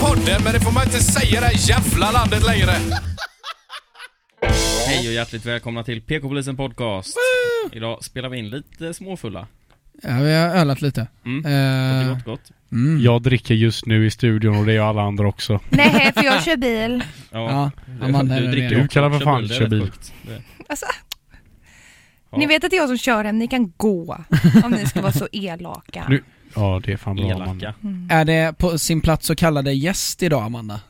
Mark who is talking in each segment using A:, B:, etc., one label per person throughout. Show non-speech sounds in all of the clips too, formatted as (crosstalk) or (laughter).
A: podden, men det får man inte säga i det här jävla landet längre.
B: Hej och hjärtligt välkomna till PK-polisen podcast. Idag spelar vi in lite småfulla.
C: Ja, vi har ölat lite.
B: Mm.
C: Eh,
B: Det gott, gott.
C: mm.
D: Jag dricker just nu i studion och det gör alla andra
E: (laughs)
D: också.
E: Nej, för jag kör bil.
C: Ja, Amanda är
B: du
C: där
B: dricker
C: nere.
B: också.
D: Du kan för fan
B: det är
D: köra
B: rätt
D: bil.
B: sjukt. Det-
E: Alltså,
B: Ja.
E: Ni vet att det är jag som kör hem, ni kan gå. Om ni ska vara så elaka.
D: Nu- Ja, det är fan bra. man.
B: Elaka.
C: Är det på sin plats att kalla dig gäst idag, (laughs) Amanda?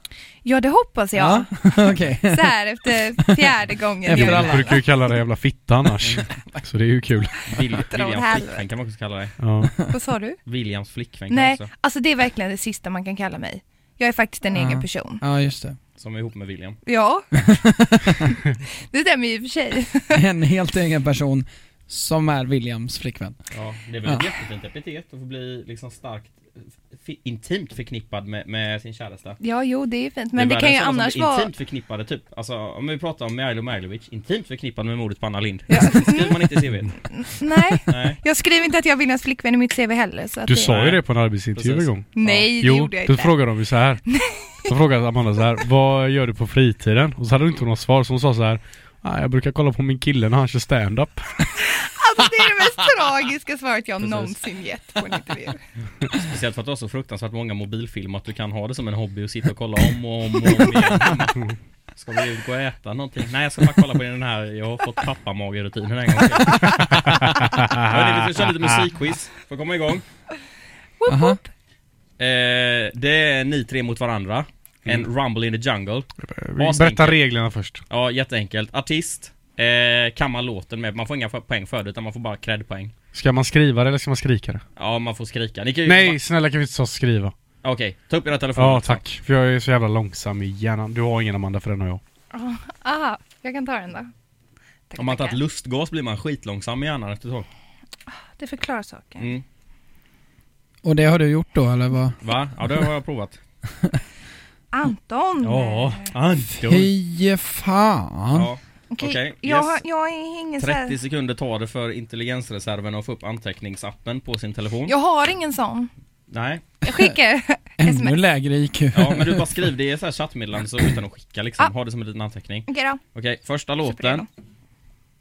E: Ja, det hoppas jag.
C: Ja, Okej.
E: Så här efter fjärde gången.
C: Efter
E: jag
C: alla.
D: Jag brukar ju kalla det jävla fitta
E: (laughs)
D: annars. Så det är ju kul.
B: Vil-
E: åt
B: Williams
E: helvete.
B: flickvän kan man också kalla dig.
D: Ja.
E: Vad sa du?
B: Williams flickvän kan
E: Nej,
B: också.
E: alltså det är verkligen det sista man kan kalla mig. Jag är faktiskt en
C: Ja.
B: Mm.
E: egen person.
C: Ja, just det.
B: Som är ihop med William. (laughs)
E: Ja. det stämmer ju i och för sig.
C: En helt egen person som är Williams flickvän.
B: Ja, det är väl ett jättefint epitet att få bli liksom starkt fi- intimt förknippad med, med sin käresta.
E: Ja, jo, det är ju fint. Men det,
B: är
E: kan ju
B: världens sådana som
E: annars
B: är
E: vara...
B: Intimt förknippade typ. Alltså om vi pratar om Mihajlo Mihajlovic, intimt förknippad med mordet på Anna Lind.
E: Ja.
B: Det skriver man inte i CVt.
E: Nej,
B: Nej.
E: jag skriver inte att jag är Williams flickvän i mitt CV heller. Så att
D: Du
E: det...
D: sa ju det på en arbetsintervju en
B: Precis.
D: gång.
E: Nej, det
D: Jo,
E: gjorde jag
D: då
E: inte.
D: frågade de ju så
E: (laughs)
D: här. Då frågade Amanda så här. Vad gör du på fritiden? Och så hade hon inte något svar så hon sa så här. "Ah, Jag brukar kolla på min kille när han kör stand-up.
E: Alltså det är det mest tragiska svaret jag
B: (laughs) Precis.
E: någonsin gett på en intervju.
B: Speciellt för att du har så fruktansvärt många mobilfilmer att du kan ha det som en hobby och sitta och kolla om och om och om
D: (laughs)
B: igen. Ska vi ut och äta någonting? Nej jag ska bara kolla på den här, jag har fått pappamagerutinen en gång
D: (laughs)
B: till. Hörni, vi ska köra lite musikquiz för att komma igång.
E: Woop,
C: Aha.
E: woop.
B: Eh, det är ni tre mot varandra. En
D: Mm.
B: rumble in the jungle.
D: Berätta reglerna först.
B: Ja, jätteenkelt. Artist. Eh, kan man låten med. Man får inga för- poäng för det utan man får bara credpoäng.
D: Ska man skriva det eller ska man skrika det?
B: Ja, man får skrika. Ni kan ju
D: Nej, snälla kan vi inte ta skriva?
B: Okej, ta upp era telefoner.
D: Ja, tack. För jag är så jävla långsam i hjärnan. Du har ingen Amanda för den har jag.
E: Aha, jag kan ta den då. Tack,
B: Om man tagit
E: tackar.
B: lustgas blir man skitlångsam i hjärnan efter ett tag.
E: Det förklarar saken.
B: Mm.
C: Och det har du gjort då, eller vad?
B: Va? Ja, det har jag provat.
E: Anton!
B: Anton.
C: Fy fan.
B: Ja,
E: Okej,
B: okej,
E: jag,
B: yes.
E: har- jag är ingen så här,
B: 30 sekunder tar det för intelligensreserven att få upp anteckningsappen på sin telefon.
E: Jag har ingen sån.
B: Nej.
E: Jag skickar (laughs)
C: Ännu
E: sms.
C: lägre IQ.
B: Ja, men du bara skriv det i så här chattmeddelande så utan att skicka liksom. Ha det som en liten anteckning.
E: Okej då.
B: Okej, första
E: Superredo.
B: låten.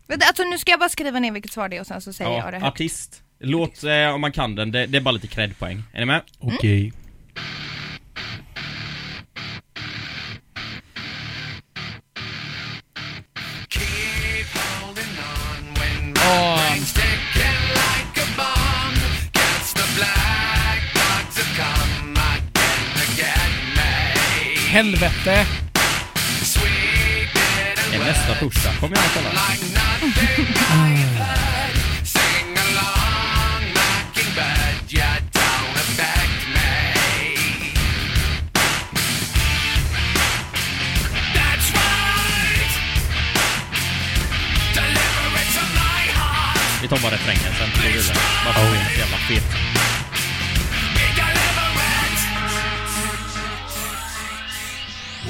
E: Vänta, Alltså nu ska jag bara skriva ner vilket svar det är och sen så säger jag det
B: Ja,
E: högt.
B: artist. Låt, eh, om man kan den, det, det är bara lite credpoäng. Är ni med?
E: Mm.
D: Okej.
F: Keep holding on when rain's ticking like a bomb. Gets the black dog to come again to get me.
C: Helvete.
F: Sweet
B: Är
F: little
B: nästa pusha. Kom igen och kolla.
F: like nothing I've heard. Sing along, mockingbird, you don't affect me. That's right. Deliver it to my heart.
B: Vi tar bara refrängen sen. Då går vi vidare. Bara för att få in ett jävla fet.
F: We deliver it.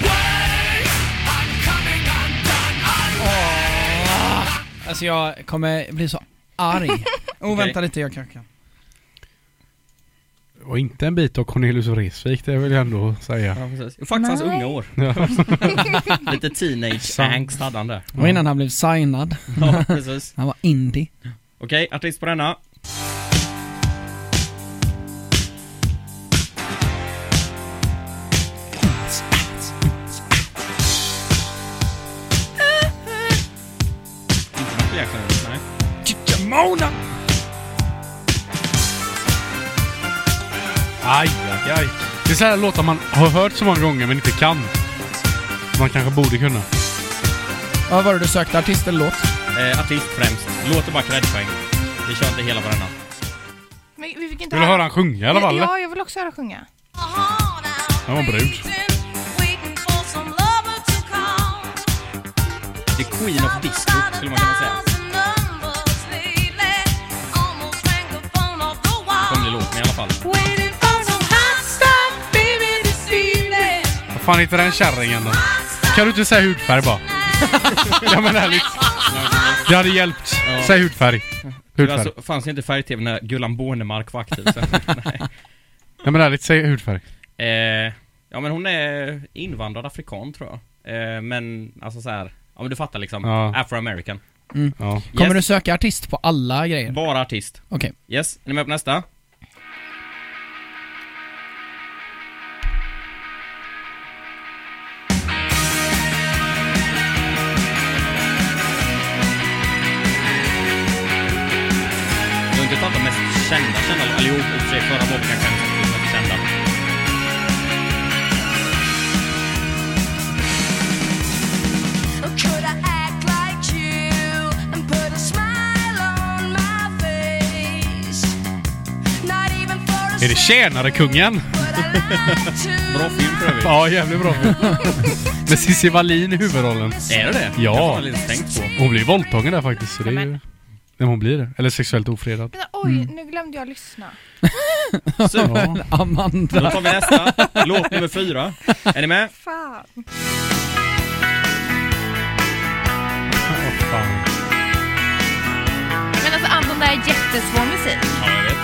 F: Wait, I'm coming undone.
C: (laughs) Alltså jag kommer bli så (laughs) arg. Oh, vänta lite, jag kanske kan.
D: Och inte en bit av Cornelius Vreeswijk, det vill jag ändå säga.
B: Ja, precis. Faktiskt hans
E: Nej.
B: unga (laughs) år. Lite teenage
D: Sant.
B: angst hade han där.
C: Och innan han blev signad.
B: Ja, precis.
C: Han var indie.
B: Okej, artist på denna. Inte mycket egentligen, nej.
D: Aj, aj, aj. Det är så här låtar man har hört så många gånger men inte kan. Som Man kanske borde kunna.
C: Vad var det du sökte? Artist eller låt?
B: Eh, artist främst. Låter bara credpoäng. Vi kör inte hela varenda.
E: Men vi fick inte
D: Vill du höra han sjunga i alla fall? eller?
E: Ja, jag vill också höra sjunga.
D: Han var brud.
B: The Queen of Disco skulle man kunna säga. Kunglig låt, men i alla fall.
D: Vad fan heter den kärringen då? Kan du inte säga hudfärg bara? ja men ärligt. Det hade hjälpt. Säg hudfärg.
B: Det
D: Hudfärg.
B: alltså, fanns inte färg-tv när Gullan Bornemark var aktiv sen.
D: Ja men ärligt, säg hudfärg.
B: Nej. Eh, Ja men hon är invandrad afrikan tror jag. Eh, men alltså så här, ja men du fattar liksom.
D: Ja.
B: Afro-American.
D: Ja.
C: Kommer
B: Yes.
C: du söka artist på alla grejer?
B: Bara artist.
C: Okej. (laughs)
B: Yes, är ni med på nästa? Du har inte tagit de mest kända, kända, eller jo, i och för sig förra vågen kanske inte var kända.
G: Could I act like you and put a smile on my face? Not even for a
D: Är det Tjänare kungen? (laughs)
B: Bra film för övrigt.
D: Ja, jävligt bra Med Cissi Wallin i huvudrollen.
B: Är det det?
D: Ja.
B: Det har jag inte tänkt på.
D: Hon blir våldtagen där faktiskt, så det är ju...
E: Amen.
D: Nej, hon blir det. Eller sexuellt ofredad.
E: Men, Oj,
D: Mm.
E: nu glömde jag lyssna.
B: Super.
D: Ja.
C: Amanda.
B: Då tar vi nästa. Låt nummer fyra. Är ni med?
E: Fan.
D: Åh, fan.
E: Men alltså Anton, det här är jättesvår musik.
B: Ja, jag vet.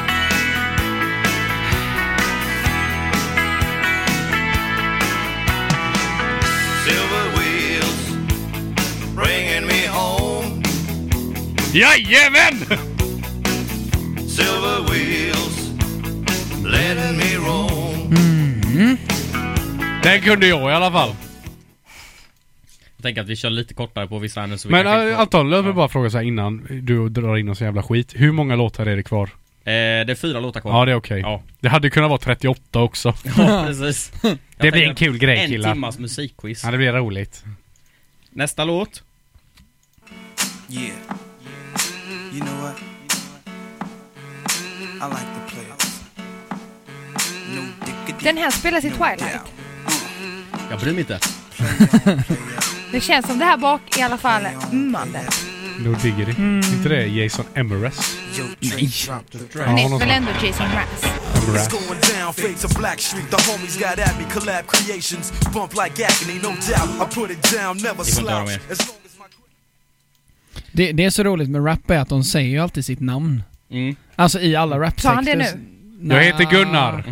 F: Silver wheels bringing me home.
D: Jajamän!
F: Silver wheels letting me roam.
D: Den kunde jag i alla fall.
B: Jag tänker att vi kör lite kortare på vissa ämnen så vi
D: Men
B: kanske
D: äh,
B: inte får-
D: Anton, låt mig
B: Ja.
D: bara fråga så här innan du drar in oss i jävla skit. Hur många låtar är det kvar?
B: Eh, det är fyra låtar kvar.
D: Ja, det är okej.
B: Ja.
D: Det hade kunnat vara 38 också.
B: (laughs) Ja, precis. Jag
D: Det blir
B: tänker
D: en kul grej
B: En
D: killar.
B: timmas musikquiz.
D: Ja, det blir roligt.
B: Nästa låt.
H: Yeah. You know what? I like the players. No dickity.
E: Den här spelas i Twilight.
H: doubt.
B: Jag bryr mig inte.
E: Det känns som det här bak i alla fall Mm, ummande.
D: No diggity. Inte det Jason Emeres?
H: Yo, Trey, drop the drop.
E: Han
D: Ja,
E: heter
D: någon
E: väl
D: sån.
E: ändå Jason Mraz?
H: It's
D: Emeres.
H: going down, fade to Black Street. The homies got at me, collab creations. Bump like agony, no doubt. I put it down, never
B: Even
H: slouch.
B: Darwin.
H: As long as my
C: Det, det är så roligt med rap är att de säger ju alltid sitt namn.
B: Mm.
C: Alltså i alla rap
E: Sa han det nu?
D: Jag heter Gunnar.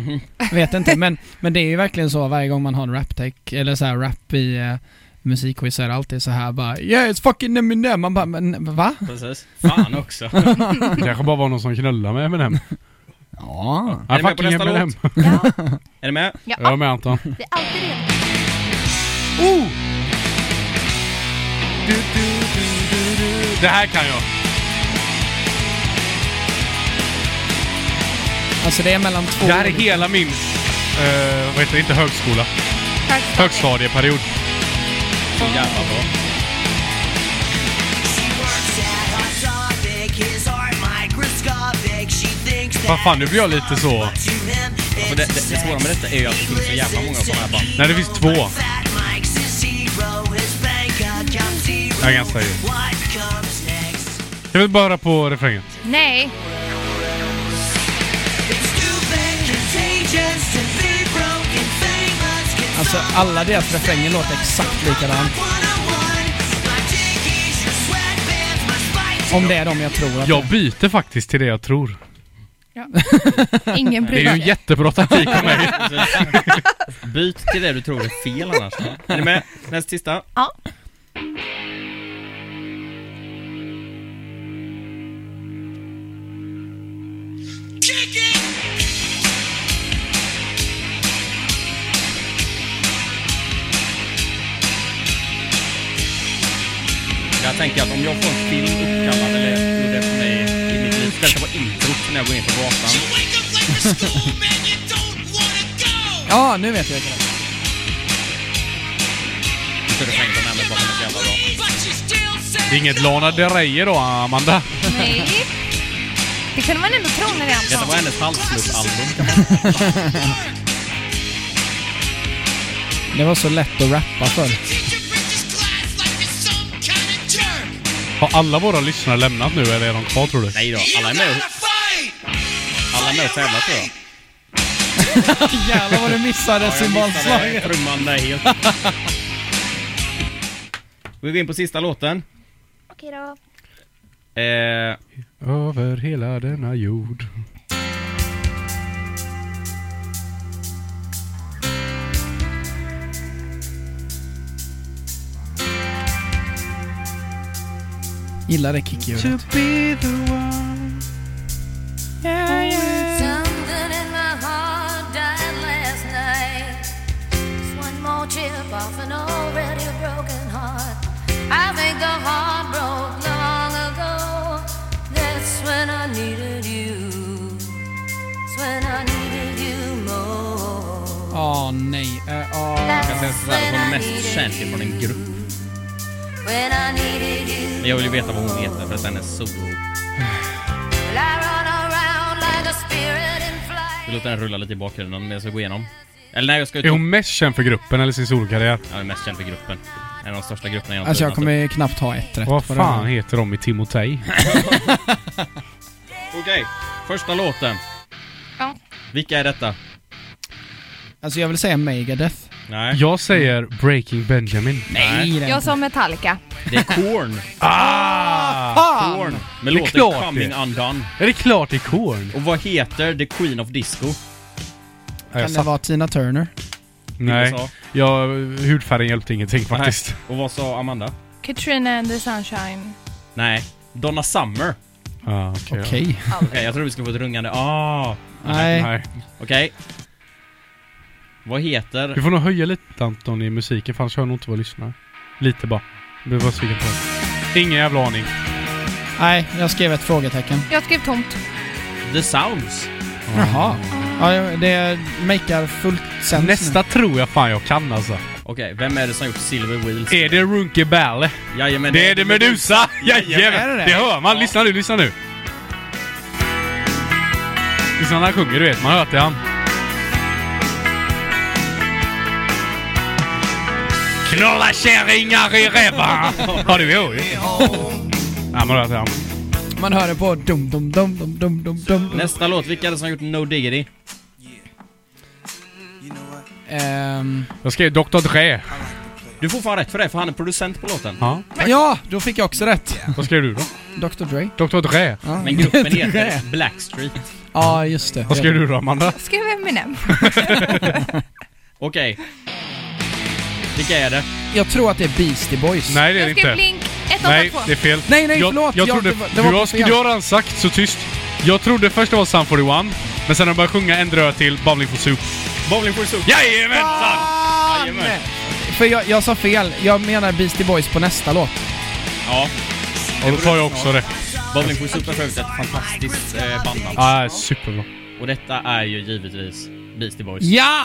C: Vet
E: (laughs)
C: inte, men, men det är ju verkligen så varje gång man har en rap-tech, eller så här rap i eh, musikquiz så är det alltid så här bara Yeah it's fucking Eminem, man bara men va?
B: Precis. Fan (laughs) också.
D: Det kanske bara var någon som knullade med Eminem.
C: Ja.
D: Ja,
B: ni med på
D: fucking
B: nästa
D: Eminem.
E: Ja,
B: Är ni med?
E: ja.
D: Jag är med Anton.
E: det är alltid det.
D: Oh! Du, du, du, du, du. Det här kan jag.
C: Alltså det är mellan två...
D: Det här är hela min, eh, vad heter det, inte högskola,
E: Högstadiet.
D: högstadieperiod.
B: Så jävla bra.
D: Vad fan, nu blir jag lite så.
B: Alltså det, det, det svåra med detta är ju att det finns så jävla många sådana här band.
D: Nej, det finns två. Jag är ganska säker. Jag vill bara höra på refrängen.
E: Nej,
D: (laughs)
C: Alltså alla deras refränger låter exakt likadant. Om det är de jag tror att
D: Jag byter faktiskt till det jag tror.
E: ingen
D: Det är
E: bryr
D: ju en
E: sig.
D: jättebra taktik av mig.
B: Precis. Byt till det du tror är fel annars. Är ni med? Näst sista.
E: Ja.
B: Jag tänker att om jag får en film uppkallad eller gjorde efter mig i mitt liv, ställ på introt när jag går in på gatan.
C: Ja, nu vet jag vilka det är.
B: Så det tänkte med mig bara så jävla bra.
D: Det är inget Lana Del Rey då, Amanda.
E: Nej. Det kunde man ändå tro när det är
B: Detta var
E: Anton.
B: hennes halsflussalbum.
C: Det var så lätt att rappa förr.
D: Har alla våra lyssnare lämnat nu eller är de kvar tror du?
B: Nej då, alla är med och, alla är med och tävlar tror jag.
C: Jävlar vad du missade
B: Ja, jag missade Trumman där helt. Vi går in på sista låten.
E: Okej då.
B: Eh,
D: Över hela denna jord.
C: Gillar det kickljudet.
G: Something in my heart died last night. It's one more chip off an already broken heart. I think the heart broke long ago. That's when I needed you. It's when I needed you more.
C: Åh nej. Eh, åh.
B: kan säga så här, hon är mest känd från en grupp.
G: When I needed you.
B: Men jag vill ju veta vad hon heter för att den är solo.
G: Well, I run around like a spirit in
B: Vi
G: flight.
B: låter den rulla lite i bakgrunden men jag ska gå igenom. Eller nej, jag ska
D: Är
B: ju...
D: hon mest känd för gruppen eller sin solokarriär?
B: Ja, den är mest känd för gruppen. En av de största grupperna genom
C: Alltså jag
B: tiderna,
C: kommer knappt ha ett rätt
D: Vad
C: på det
D: fan
C: här.
D: heter de i Timotej?
B: typ. Okej, första låten.
E: Ja.
B: Vilka är detta?
C: Alltså jag vill säga Megadeth.
B: Nej.
D: Jag säger Breaking Benjamin.
C: Nej, det är
E: Jag
C: inte.
E: sa Metallica.
B: Det är
D: (laughs)
B: Korn.
D: Ah!
B: Korn. Med
D: Det är
B: låten
D: klart det.
B: Coming Undone.
D: Är det klart det är Korn?
B: Och vad heter The Queen of Disco?
D: Ja, jag
C: Kan det
D: satt-
C: vara Tina Turner?
D: Nej,
B: sa.
D: jag, hudfärgen hjälpte ingenting faktiskt.
B: Nej. Och vad sa Amanda?
E: Katrina and the Sunshine.
B: Nej. Donna Summer.
D: Ah, okej, ja.
C: Okej.
B: Okej, jag tror vi ska få ett rungande ah.
C: Nej.
D: Nej.
B: Okej. Vad
D: Du
B: heter...
D: får nog höja lite Anton i musiken för annars hör jag nog inte vad jag lyssnar. Lite bara. Jag blir bara sviken på det. Ingen jävla aning.
C: Nej, jag skrev ett frågetecken.
E: Jag skrev tomt.
B: The Sounds?
C: Jaha. Ja, det makear fullt sens
D: Nästa tror jag fan jag kan alltså.
B: Okej, vem är det som gjort Silver Wheels?
D: Är det Runke Ball?
B: Jajamän,
D: E. Det är det Medusa!
C: Är det
D: Jajamän!
C: det?
D: Det hör man. Lyssna nu, lyssna nu. Lyssna när han sjunger, du vet. Man hör att det är han. Knulla kärringar i rävar! Ja, du hör ju. Nej, man hör att det är han.
C: nu. Man hör det på dum dum dum dum dum dum dum.
B: Nästa låt, vilka är det som har gjort No Diggity?
C: Ehm,
D: Jag skrev Dr. Dre.
B: Du får fan rätt för det, för han är producent på låten.
D: Ja.
C: ja, då fick jag också rätt.
D: Vad skrev du då?
C: Dr Dre.
D: Dr. Dre.
C: Ja.
D: (laughs)
B: Men
C: (laughs)
B: gruppen
C: Dre.
B: heter Blackstreet.
C: Ja, just det.
D: Vad skrev du då, Amanda?
E: Jag skrev Eminem.
B: Okej. Vilka är det?
C: Jag tror att det är Beastie Boys.
D: Nej, det är
E: Jag
D: det
E: skrev
D: inte.
E: Blink 182.
D: Nej, det är fel.
C: Nej, nej, förlåt.
D: Jag, jag
C: Ja,
D: trodde...
C: det var- det var
D: du, har,
C: på fel.
D: du har redan sagt så tyst. Jag trodde först det var Sun 41, men sen när de började sjunga En dröt till, Bubbling for Soup.
B: Bowling for Soup.
C: Ah!
D: Jajamensan!
C: Fan!
B: Jajamän.
C: För jag, jag sa fel. Jag menar Beastie Boys på nästa låt.
B: Ja,
D: Och då tar jag också det.
B: Bowling for Soup är för övrigt ett fantastiskt eh, band alltså.
D: Ah, superbra.
B: Och detta är ju givetvis Beastie Boys.
C: Ja!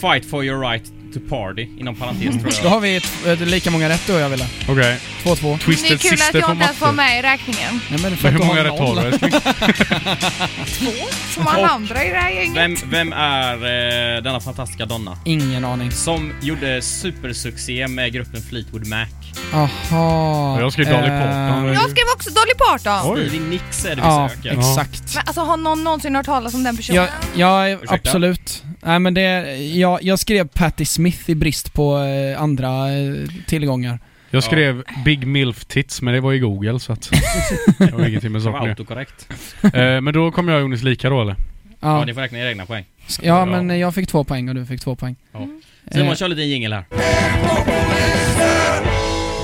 B: Fight for your right to party, inom parentes tror
C: (laughs) Då
B: jag.
C: har vi ett, ett, lika många rätt du och jag ville.
D: Okej.
C: 2-2.
E: det är
D: Twisted
E: kul att
D: Sister
E: jag
D: på
E: inte ens var
D: matte.
E: med i räkningen.
C: Nej, men för
D: Men
C: att du
D: hur många
C: noll.
D: rätt har du älskling?
E: Som alla andra i det här gänget.
B: Vem, vem är eh, denna fantastiska donna?
C: Ingen aning.
B: Som gjorde supersuccé med gruppen Fleetwood Mac.
C: Aha.
D: Jag skrev Dolly
C: eh,
D: Parton.
E: Jag skrev också Dolly Parton.
D: Oj.
B: Stevie Nicks är det vi
C: Ja,
B: söker.
C: exakt.
E: Men alltså har någon någonsin hört talas om den personen?
C: Jag, jag,
B: Ursäkta?
C: absolut. Nej men det, jag, jag skrev Patti Smith i brist på eh, andra eh, tillgångar.
D: Jag skrev Big Milf Tits, men det var i Google
B: (laughs)
D: så att... Det var ingenting med
B: Det var
D: saken att
B: autokorrekt.
D: göra. Eh, Men då kommer jag och Jonas lika då eller?
B: Ja,
C: Ja,
B: ni får räkna era egna poäng.
C: ja men jag fick två poäng och du fick två poäng.
B: Simon,
C: Eh.
B: kör lite jingel här.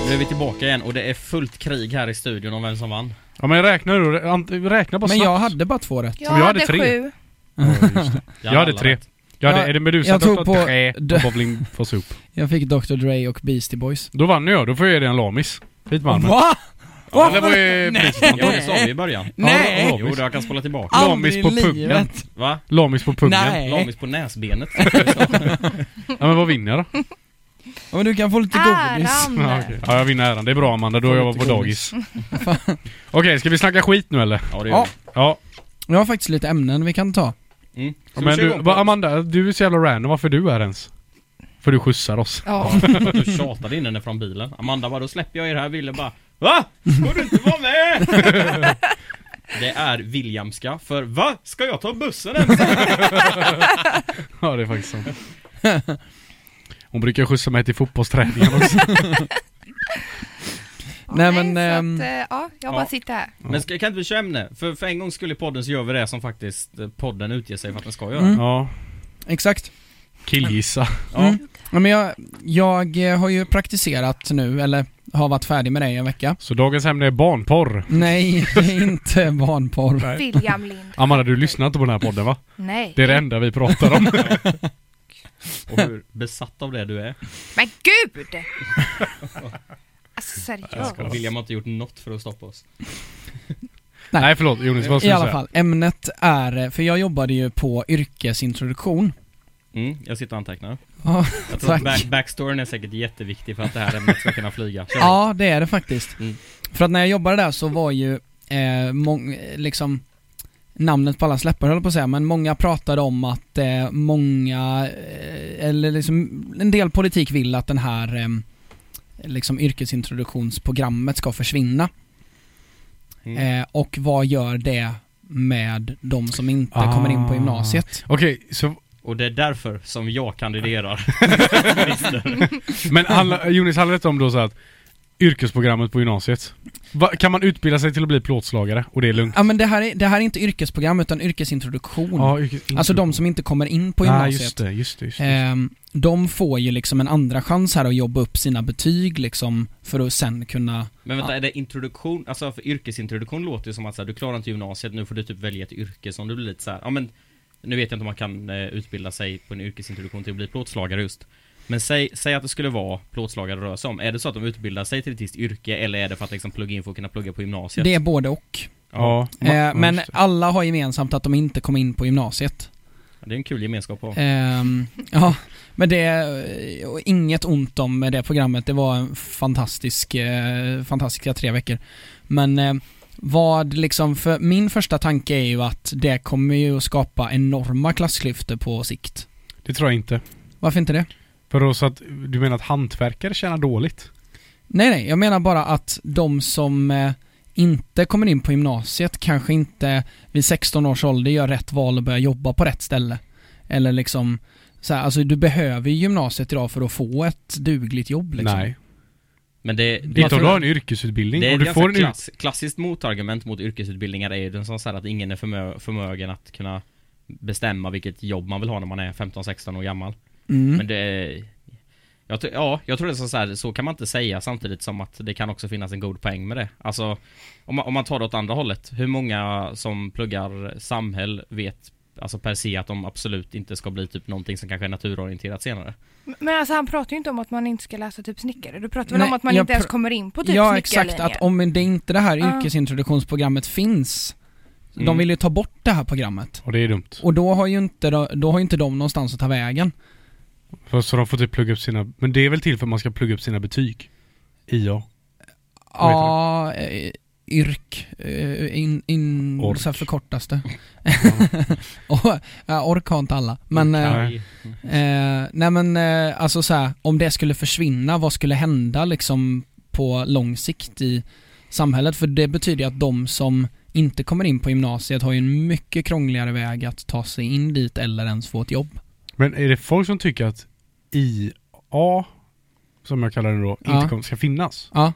B: Nu är vi tillbaka igen och det är fullt krig här i studion om vem som vann.
D: Ja men räkna nu då. Ant- Räkna bara
C: Men
D: snabbt.
C: jag hade bara två rätt.
E: Jag
D: Men jag
E: hade
D: hade tre.
E: sju.
D: Jag hade
B: alla
D: tre.
B: rätt.
D: Jag hade,
C: Jag-
D: är det Medusa
C: jag tror
D: Dr.
C: på-
D: Dre
C: d-
D: och Bubbling for Soup?
C: Jag fick Dr Dre och Beastie Boys.
D: Då vann jag, då får jag ge dig en lamis. Fint man.
C: Va?
D: Ja, det var ju priset.
B: Jo, det sa vi i början.
C: Nej.
D: Ja,
B: Jo,
D: lamis.
B: då jag kan spola tillbaka.
C: Aldrig
D: Lamis på
C: i livet.
D: pungen.
B: Va?
D: Lamis på pungen.
C: Nej.
B: Lamis på
C: (laughs)
B: näsbenet.
D: Ja, men vad vinner jag då?
C: Ja, men du kan få lite godis.
E: Äran.
D: Ja, okej. ja, jag vinner äran. Det är bra Amanda, då har jag var på dagis.
C: (laughs)
D: Okej, ska vi snacka skit nu eller?
B: Ja, det gör
C: Ja,
B: vi.
D: Ja.
C: jag har faktiskt lite ämnen vi kan ta.
B: Mm. Ska vi
D: Men
B: köra
D: du,
B: igång
D: va-
B: på-
D: Amanda, du är så jävla random. Varför är du här ens? För du skjutsar oss. (laughs)
E: Ja.
B: För att du tjatade in henne från bilen. Amanda bara, då släpper jag er här. Ville bara, VA? Får du inte vara med? Det är Williamska, för VA? Ska jag ta bussen ens?
D: Ja, det är faktiskt
C: (laughs)
D: sant. Hon brukar skjutsa mig till fotbollsträningen också.
C: Nej, men, ehm,
E: så att, eh, ja, jag bara
B: ja.
E: sitter här.
B: Men ska, kan inte vi köra ämne? För, för en gång skulle podden så gör vi det som faktiskt eh, podden utger sig för att den ska göra.
C: Mm.
D: Ja.
C: Exakt.
D: Killgissa.
B: Ja.
C: Ja, men jag, jag eh, har ju praktiserat nu, eller har varit färdig med det i en vecka.
D: Så dagens ämne är barnporr.
C: Nej,
D: (laughs)
C: inte barnporr.
E: William Lind.
D: Amanda, du lyssnar inte på den här podden va?
E: Nej.
D: Det är det enda vi pratar
C: (laughs)
D: om. (laughs)
B: Och hur besatt av det du är.
E: Men gud! (laughs) Alltså seriöst.
B: Och William har inte gjort något för att stoppa oss.
C: Nej.
D: Nej förlåt Jonas, vad
C: I
D: skulle du
C: alla
D: säga?
C: fall, ämnet är, för jag jobbade ju på yrkesintroduktion.
B: Mm, jag sitter och antecknar.
C: Ja,
B: Jag tror
C: tack.
B: att back, backstoryn är säkert jätteviktig för att det här ämnet ska kunna flyga. Kör.
C: Ja, det är det faktiskt.
B: Mm.
C: För att när jag jobbade där så var ju, eh, mång, eh, liksom, namnet på alla släppar höll jag på att säga, men många pratade om att eh, många, eh, eller liksom, en del politik vill att den här eh, liksom yrkesintroduktionsprogrammet ska försvinna.
B: Mm.
C: Eh, och vad gör det med de som inte
D: Ah.
C: kommer in på gymnasiet?
D: Okej, så,
B: Och det är därför som jag kandiderar.
D: men alla, Jonas handlar det om då så att yrkesprogrammet på gymnasiet. Va, kan man utbilda sig till att bli plåtslagare och det är lugnt?
C: Ja men det här, är, det här är inte yrkesprogram utan yrkesintroduktion.
D: yrkes-
C: Alltså de som inte kommer in på
D: Ah,
C: gymnasiet.
D: just det, just det, just det.
C: Ehm, de får ju liksom en andra chans här att jobba upp sina betyg liksom för att sen kunna
B: Men vänta, är det introduktion? Alltså för yrkesintroduktion låter ju som att så här, du klarar inte gymnasiet, nu får du typ välja ett yrke som du blir lite så här, ja men Nu vet jag inte om man kan eh, utbilda sig på en yrkesintroduktion till att bli plåtslagare just Men säg, säg att det skulle vara plåtslagare det rör sig om, är det så att de utbildar sig till ett visst yrke eller är det för att liksom plugga in för att kunna plugga på gymnasiet?
C: Det är både och.
D: ja, ma-
C: Ehm,
D: ja,
C: men
D: just det.
C: alla har gemensamt att de inte kom in på gymnasiet.
B: Ja, det är en kul gemenskap på.
C: Ehm, ja, men det, eh, och inget ont om det programmet, det var en fantastisk, eh, fantastiska tre veckor. Men eh, vad liksom, för min första tanke är ju att det kommer ju att skapa enorma klassklyftor på sikt.
D: det tror jag inte.
C: Varför inte det?
D: För då så att, du menar att hantverkare tjänar dåligt?
C: Nej, nej, jag menar bara att de som eh, inte kommer in på gymnasiet kanske inte vid 16 års ålder gör rätt val och börjar jobba på rätt ställe. Eller liksom, så här, alltså du behöver ju gymnasiet idag för att få ett dugligt jobb liksom.
D: Nej.
B: Men det, det,
D: Inte om du har en
B: det
D: yrkesutbildning.
B: är
D: om
B: ett
D: du
B: ganska
D: får en yrk-
B: klass, klassiskt motargument mot yrkesutbildningar är ju den som säger att ingen är förmö förmögen att kunna bestämma vilket jobb man vill ha när man är 15-16 år gammal.
C: Mm.
B: Men det är... Jag tror- ja, jag tror det är så så här, så kan man inte säga samtidigt som att det kan också finnas en god poäng med det. Alltså, om man, om man tar det åt andra hållet, hur många som pluggar samhäll vet Alltså per se att de absolut inte ska bli typ någonting som kanske är naturorienterat senare.
E: Men alltså han pratar ju inte om att man inte ska läsa typ snickare. Du pratar väl
C: Nej,
E: om att man
C: jag
E: inte ens
C: pr-
E: kommer in på typ
C: ja,
E: snickarlinjen?
C: exakt. Att om det inte det här
E: Ja.
C: yrkesintroduktionsprogrammet finns, de
B: Mm.
C: vill ju ta bort det här programmet.
D: Och det är dumt.
C: Och då har ju inte, de- då har ju inte de någonstans att ta vägen.
D: För, så de får typ plugga upp sina... Men det är väl till för att man ska plugga upp sina betyg? IA. Vad heter
C: Ja, eh, yrk, eh, in, in,
D: Ork.
C: så här förkortas det. (laughs) Och, ja, ork har inte alla. Men, eh,
D: Nej.
C: eh, nej men eh, alltså så här, om det skulle försvinna, vad skulle hända liksom på lång sikt i samhället? För det betyder ju att de som inte kommer in på gymnasiet har ju en mycket krångligare väg att ta sig in dit eller ens få ett jobb.
D: Men är det folk som tycker att IA, som jag kallar den då,
C: Ja.
D: inte kommer, ska finnas?
C: Ja,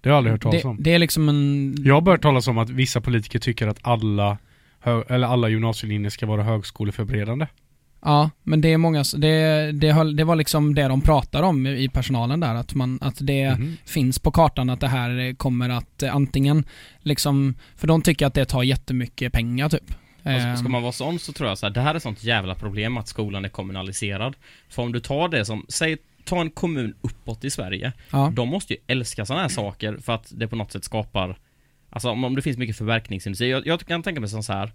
D: Det har jag aldrig hört talas
C: det,
D: om.
C: det är liksom en...
D: Jag har börjat talas om att vissa politiker tycker att alla, hö- eller alla gymnasielinjer ska vara högskoleförberedande.
C: Ja, men det är många, s- det, det, höll- det var liksom det de pratar om i i personalen där, att, man, att det
D: Mhm.
C: finns på kartan att det här eh, kommer att eh, antingen liksom, för de tycker att det tar jättemycket pengar typ.
B: Alltså, ska
C: Ehm,
B: man vara sån så tror jag så här, det här är sånt jävla problem att skolan är kommunaliserad. För om du tar det som, säg, ta en kommun uppåt i Sverige.
C: ja.
B: De måste ju älska sådana här saker för att det på något sätt skapar Alltså om, om det finns mycket förverkningsindustri. Jag, jag kan tänka mig som så här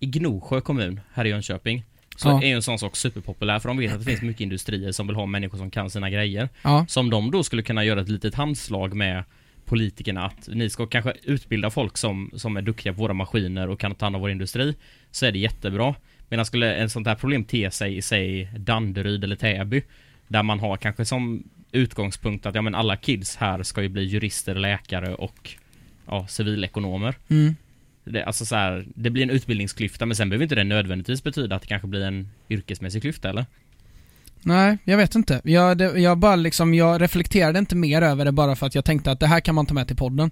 B: I Gnosjö kommun här i Jönköping Så
C: Ja.
B: är ju en sån sak superpopulär för de vet att det finns mycket industrier som vill ha människor som kan sina grejer.
C: ja.
B: Som de då skulle kunna göra ett litet handslag med politikerna att ni ska kanske utbilda folk som, som är duktiga på våra maskiner och kan ta hand om vår industri. Så är det jättebra. Medan skulle en sånt här problem te sig i sig Danderyd eller Täby där man har kanske som utgångspunkt att ja men alla kids här ska ju bli jurister, läkare och ja, civilekonomer.
C: Mm.
B: Det, alltså så här, det blir en utbildningsklyfta men sen behöver inte det nödvändigtvis betyda att det kanske blir en yrkesmässig klyfta eller?
C: Nej, jag vet inte. Jag, det, jag bara liksom, jag reflekterade inte mer över det bara för att jag tänkte att det här kan man ta med till podden.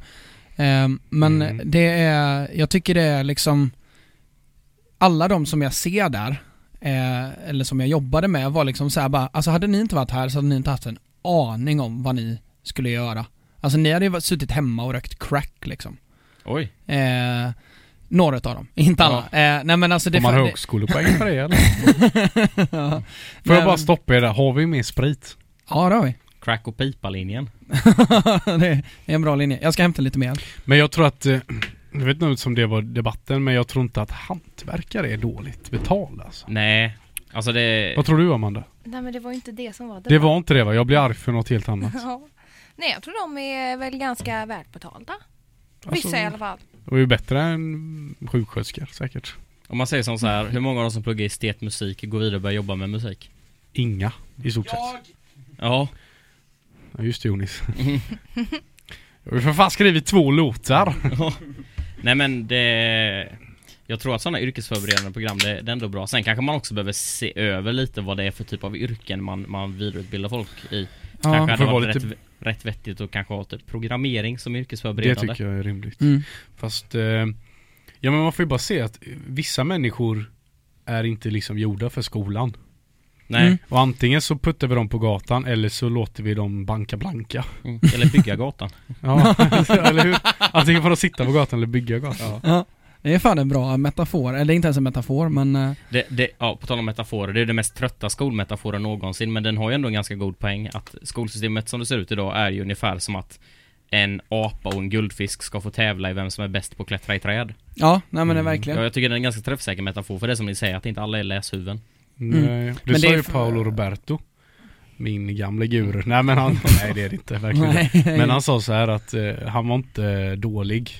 C: Ehm, men
D: Mm.
C: det är, jag tycker det är liksom, alla de som jag ser där, eh, eller som jag jobbade med var liksom så här bara, alltså hade ni inte varit här så hade ni inte haft en aning om vad ni skulle göra. Alltså ni hade ju varit- suttit hemma och rökt crack liksom.
B: Oj.
C: Eh, några utav dem, inte alla. Eh, nej men alltså det...
D: Får man
C: fa- det-
D: högskolepoäng för det eller?
C: (laughs) ja.
D: Får
C: Nej,
D: jag bara
C: men-
D: stoppa er där? Har vi mer sprit?
C: Ja det har vi.
B: Crack och pipa-linjen.
C: (laughs) det är en bra linje. Jag ska hämta lite mer.
D: Men jag tror att, eh, jag vet inte som det var debatten, men jag tror inte att hantverkare är dåligt betalt alltså.
B: Nej. Alltså det...
D: Vad tror du Amanda?
E: Nej men det var ju inte det som var
D: Det var inte det va? Jag blir arg för något helt
E: (laughs)
D: annat.
E: Ja. Nej jag tror de är väl ganska välbetalda. Vissa
C: Alltså,
E: i alla fall.
D: Det var ju bättre än sjuksköterskor säkert.
B: Om man säger som så här, hur många av de som pluggar estetmusik går vidare och börjar jobba med musik?
D: Inga i stort sett.
B: Ja.
D: Ja, just det Jonis. (laughs) jag har ju för fan skrivit två låtar.
B: Nej men det... Jag tror att sådana yrkesförberedande program, det, det är ändå bra. Sen kanske man också behöver se över lite vad det är för typ av yrken man, man vidareutbildar folk i. kanske hade
D: får vara
B: varit
D: lite-
B: rätt, rätt vettigt och kanske ha typ programmering som
D: Det
B: yrkesförberedande.
D: tycker jag är rimligt.
C: Mm.
D: Fast, eh, ja men man får ju bara se att vissa människor är inte liksom gjorda för skolan.
B: Nej.
C: Mm.
D: Och antingen så puttar vi dem på gatan eller så låter vi dem banka blanka.
B: Mm. Eller bygga gatan.
D: Ja, (laughs) eller hur? Antingen får de sitta på gatan eller bygga gatan.
C: Ja. Det är fan en bra metafor, eller det är inte ens en metafor men... eh,
B: Det, det, ja, på tal om metaforer, det är den mest trötta skolmetaforen någonsin, men den har ju ändå en ganska god poäng att skolsystemet som det ser ut idag är ju ungefär som att en apa och en guldfisk ska få tävla i vem som är bäst på att klättra i träd.
C: Ja, nej men det är
B: Ja.
C: verkligen.
B: jag tycker det är en ganska träffsäker metafor för det som ni säger, att inte alla är läshuvuden.
D: Nej. Mm. Du
C: Mm. Men
D: sa
C: det är
D: ju
C: för-
D: Paolo Roberto. Min gamla guru. Nej men han, nej det är det inte, verkligen
C: Nej.
D: Men han sa så här att eh, han var inte eh, dålig.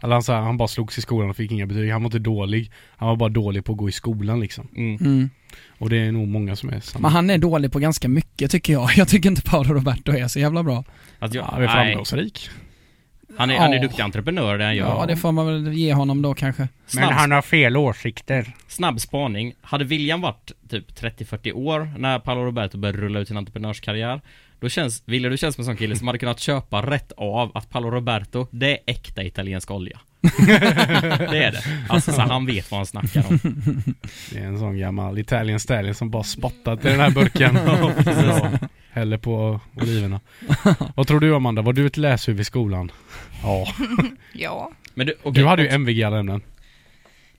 D: Eller han sa han bara slogs i skolan och fick inga betyg. Han var inte dålig. Han var bara dålig på att gå i skolan liksom.
B: Mm.
C: Mm.
D: Och det är nog många som är samma.
C: Men han är dålig på ganska mycket tycker jag. (laughs) Jag tycker inte Paolo Roberto är så jävla bra.
B: Att jag,
D: Han är
B: nej,
D: framgångsrik.
B: han är, han är
C: Ja.
B: duktig entreprenör det han gör.
C: Ja. det får man väl ge honom då kanske.
B: Snabb,
D: har fel åsikter.
B: snabb spaning. Hade William varit typ 30-40 år när Paolo Roberto började rulla ut sin entreprenörskarriär, då känns, William du känns som en sån kille som hade kunnat köpa rätt av att Paolo Roberto, det är äkta italiensk olja. (laughs) det är det. Alltså så han vet vad han snackar om.
D: Det är en sån gammal Italian stallion som bara spottat i den
C: (laughs)
D: här burken. Ja. Häller på oliverna. Vad tror du Amanda? Var du ett läshuvud i skolan? Ja.
E: Ja.
B: Men du, okej,
D: Du hade ju MVG i alla ämnen.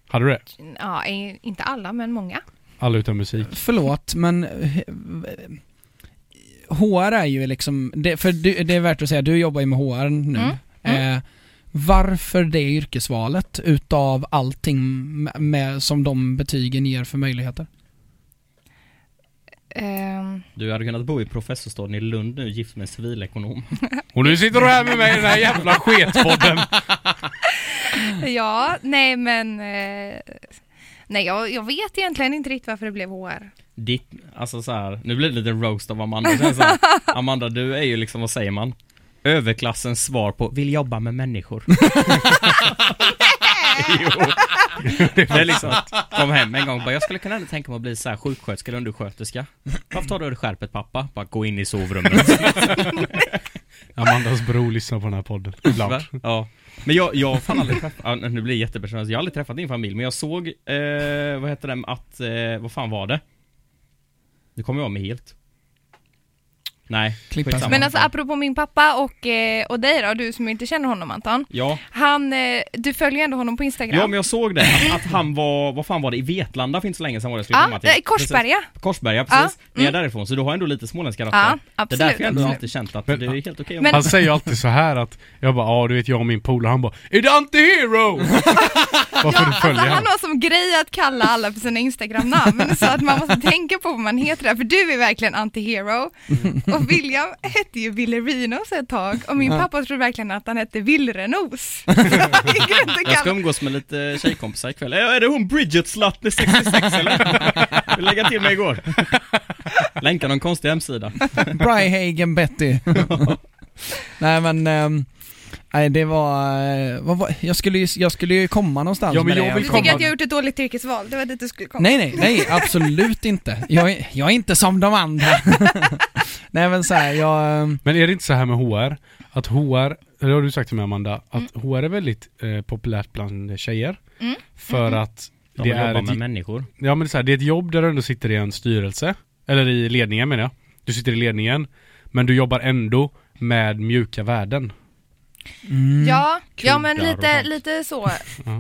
D: Hade du det?
E: ja, eh, inte alla men många.
D: Alla utom musik.
C: Förlåt men... eh, HR är ju liksom, det, för du, det är värt att säga, du jobbar ju med HR nu.
E: Mm.
C: Eh, varför det yrkesvalet utav allting med, med, som de betygen ger för möjligheter?
E: Ehm,
B: du hade kunnat bo i professorstaden i Lund nu, gift med en civilekonom.
D: Och nu sitter du här med mig i den här jävla (laughs) sketpodden.
C: Mm.
E: ja, nej men... eh, nej jag, jag vet egentligen inte riktigt varför det blev HR.
B: Ditt, alltså så här, nu blir det lite roast av Amanda. Det är Så här, Amanda, du är ju liksom, vad säger man? Överklassens svar på vill jobba med människor. (laughs) jo. Det är liksom att kom hem en gång och bara, jag skulle kunna ändå tänka mig att bli så här sjuksköterska eller undersköterska. Varför tar du det skärpet pappa? Bara gå in i sovrummet.
D: Amandas bror lyssnar på den här podden.
B: Va?
D: Ibland.
B: ja. Men jag, jag har fan aldrig träffat, ja, nu blir det jättepersonellt, jag har aldrig träffat din familj men jag såg, eh, vad heter det, att, eh, vad fan var det? Nu kommer jag av mig helt. Nej,
C: Klippa.
B: skitsamma.
E: Men alltså apropå min pappa och, eh, och dig då, du som inte känner honom Anton.
B: Ja,
E: Han, eh, du följer ändå honom på Instagram.
B: ja men jag såg det, att, att han var, vad fan var det, i Vetlanda finns så länge sedan var det jag skulle
E: Ja,
B: komma till.
E: eh, Korsberga.
B: Precis. Korsberga,
E: Ja, mm.
B: precis. Ni är därifrån, så du har ändå lite småländska rötter.
E: Ja,
B: det är
E: absolut,
B: därför jag ändå
E: absolut.
B: alltid känt att
D: Men-
B: det är helt okej om
E: Men-
D: Han säger ju alltid så här att jag bara ja du vet jag och min polare han bara Är det antihero? (laughs) Varför du
E: Alltså,
D: följer han?
E: han har som grej att kalla alla för
B: (laughs)
E: sina Instagram-namn så att man måste tänka på vad man heter där, för du är verkligen antihero.
B: Mm.
E: Och William hette ju Villerinos ett tag och min pappa trodde verkligen att han
B: (laughs)
E: hette Villrenos. Så han gick runt och
B: Jag ska
E: kallade-
B: umgås med lite tjejkompisar ikväll. Äh, Är det hon Bridget Slattner 66 eller? Vill lägga till mig igår. Länka någon konstig hemsida.
C: Bryhagen
D: (laughs)
C: Betty. nej men, ehm, nej det var, eh, vad var jag, skulle ju, jag skulle ju komma någonstans
D: Ja, men
C: med
D: jag
C: det.
D: vill
E: Du
D: komma-
E: tycker att jag har gjort ett dåligt yrkesval, det var dit du skulle komma.
C: Nej nej, nej absolut inte. Jag, är- jag är inte som de
D: (laughs)
C: andra. nej men så här, jag, ehm,
D: Men är det inte så här med HR? Att HR, det har du sagt till mig Amanda, att HR är väldigt eh, populärt bland tjejer. För att
B: De
D: det
B: jobbar
D: är,
B: med
D: ett,
B: människor.
D: ja, men det, är så här, det är ett jobb där du ändå sitter i en styrelse. Eller i ledningen menar jag. Du sitter i ledningen. Men du jobbar ändå med mjuka värden.
C: Mm.
E: Ja, ja men
B: Kuddar och
E: lite,
B: sånt. (laughs)
E: lite så.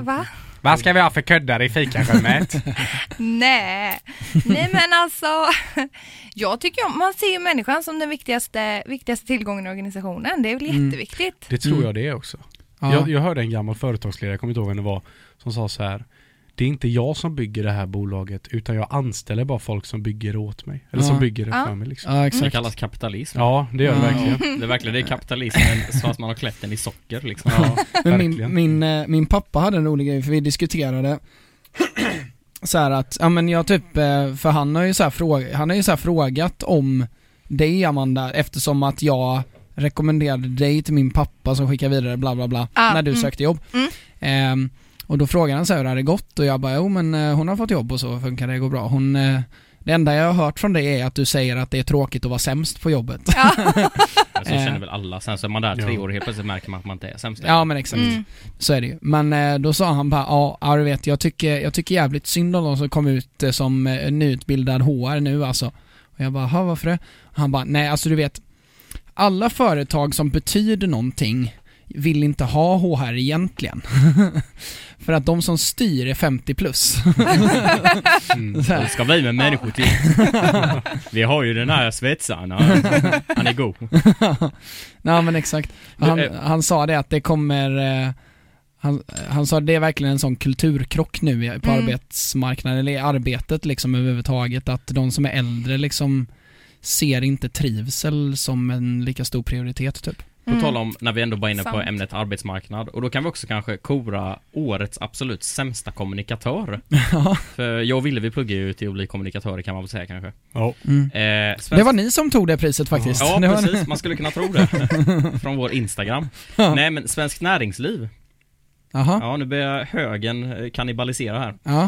E: Va?
D: Vad ska vi ha för kuddar i fikarummet?
E: Nej, nej men alltså. (laughs) Jag tycker om, man ser ju människan som den viktigaste, viktigaste tillgången i organisationen. Det är väl
C: Mm.
E: jätteviktigt.
D: (laughs) det tror jag det är också.
C: Ja.
D: Jag, jag hörde en gammal företagsledare, jag kommer inte ihåg vem det var, som sa så här. Det är inte jag som bygger det här bolaget utan jag anställer bara folk som bygger åt mig. Eller
C: Ja.
D: som bygger det
E: Ja.
D: för mig liksom.
C: ja,
B: Det
C: exakt.
B: kallas kapitalism.
D: Ja, det gör det
C: Ja.
D: verkligen.
B: Det är verkligen det är kapitalismen så att man har klätt den i socker liksom.
C: Men
D: Verkligen.
C: min, min, eh, min pappa hade en rolig grej för vi diskuterade (clears throat) så här att, ja men jag typ, eh, för han har ju så här, fråga, han har ju så här frågat om dig Amanda eftersom att jag rekommenderade dig till min pappa som skickade vidare bla bla bla
E: Ah,
C: när du
E: mm.
C: sökte jobb.
E: Mm.
C: Ehm, och då frågade han så här hur det hade gått och jag bara jo men eh, hon har fått jobb och så funkar det, det går bra. Hon, eh, det enda jag har hört från dig är att du säger att det är tråkigt att vara sämst på jobbet. (laughs)
B: Så känner väl alla. Sen så är man där tre
D: Ja.
B: år och helt plötsligt märker man att man inte är sämst.
C: Eh, Ja men exakt.
E: Mm.
C: Så är det ju. Men eh, då sa han bara, ja ja, du vet jag tycker, jag tycker jävligt synd om de som kom ut eh, som eh, nyutbildad HR nu alltså. Och jag bara, "Ha, varför det? Och han bara, nej alltså du vet, alla företag som betyder någonting vill inte ha HR egentligen. (laughs) För att de som styr är 50 plus.
D: Mm.
C: Så
B: Det
C: här.
B: ska vi med människor
D: (laughs)
B: till. Vi har ju den här svetsaren. Han han är god.
C: Nej men exakt. Och Han,
B: Nu, eh,
C: han sa det att det kommer, eh, han, han sa det är verkligen en sån kulturkrock nu i- på
E: Mm.
C: arbetsmarknaden, eller i arbetet liksom överhuvudtaget, att de som är äldre liksom ser inte trivsel som en lika stor prioritet typ.
B: På tal om när vi ändå var inne på
E: Sant.
B: ämnet arbetsmarknad och då kan vi också kanske kora årets absolut sämsta
C: (laughs)
B: kommunikatör. För jag och Ville vi pluggar ju till att bli kommunikatörer kan man väl säga kanske.
D: Ja.
B: Eh, svensk-
C: Mm. Det var ni som tog det priset faktiskt.
B: Ja
C: (laughs) det var
B: precis, man skulle kunna tro
C: (laughs)
B: det. Från vår Instagram.
C: Ja.
B: Nej men Svenskt Näringsliv.
C: Aha.
B: Ja nu börjar högen eh, kannibalisera här.
C: Ja.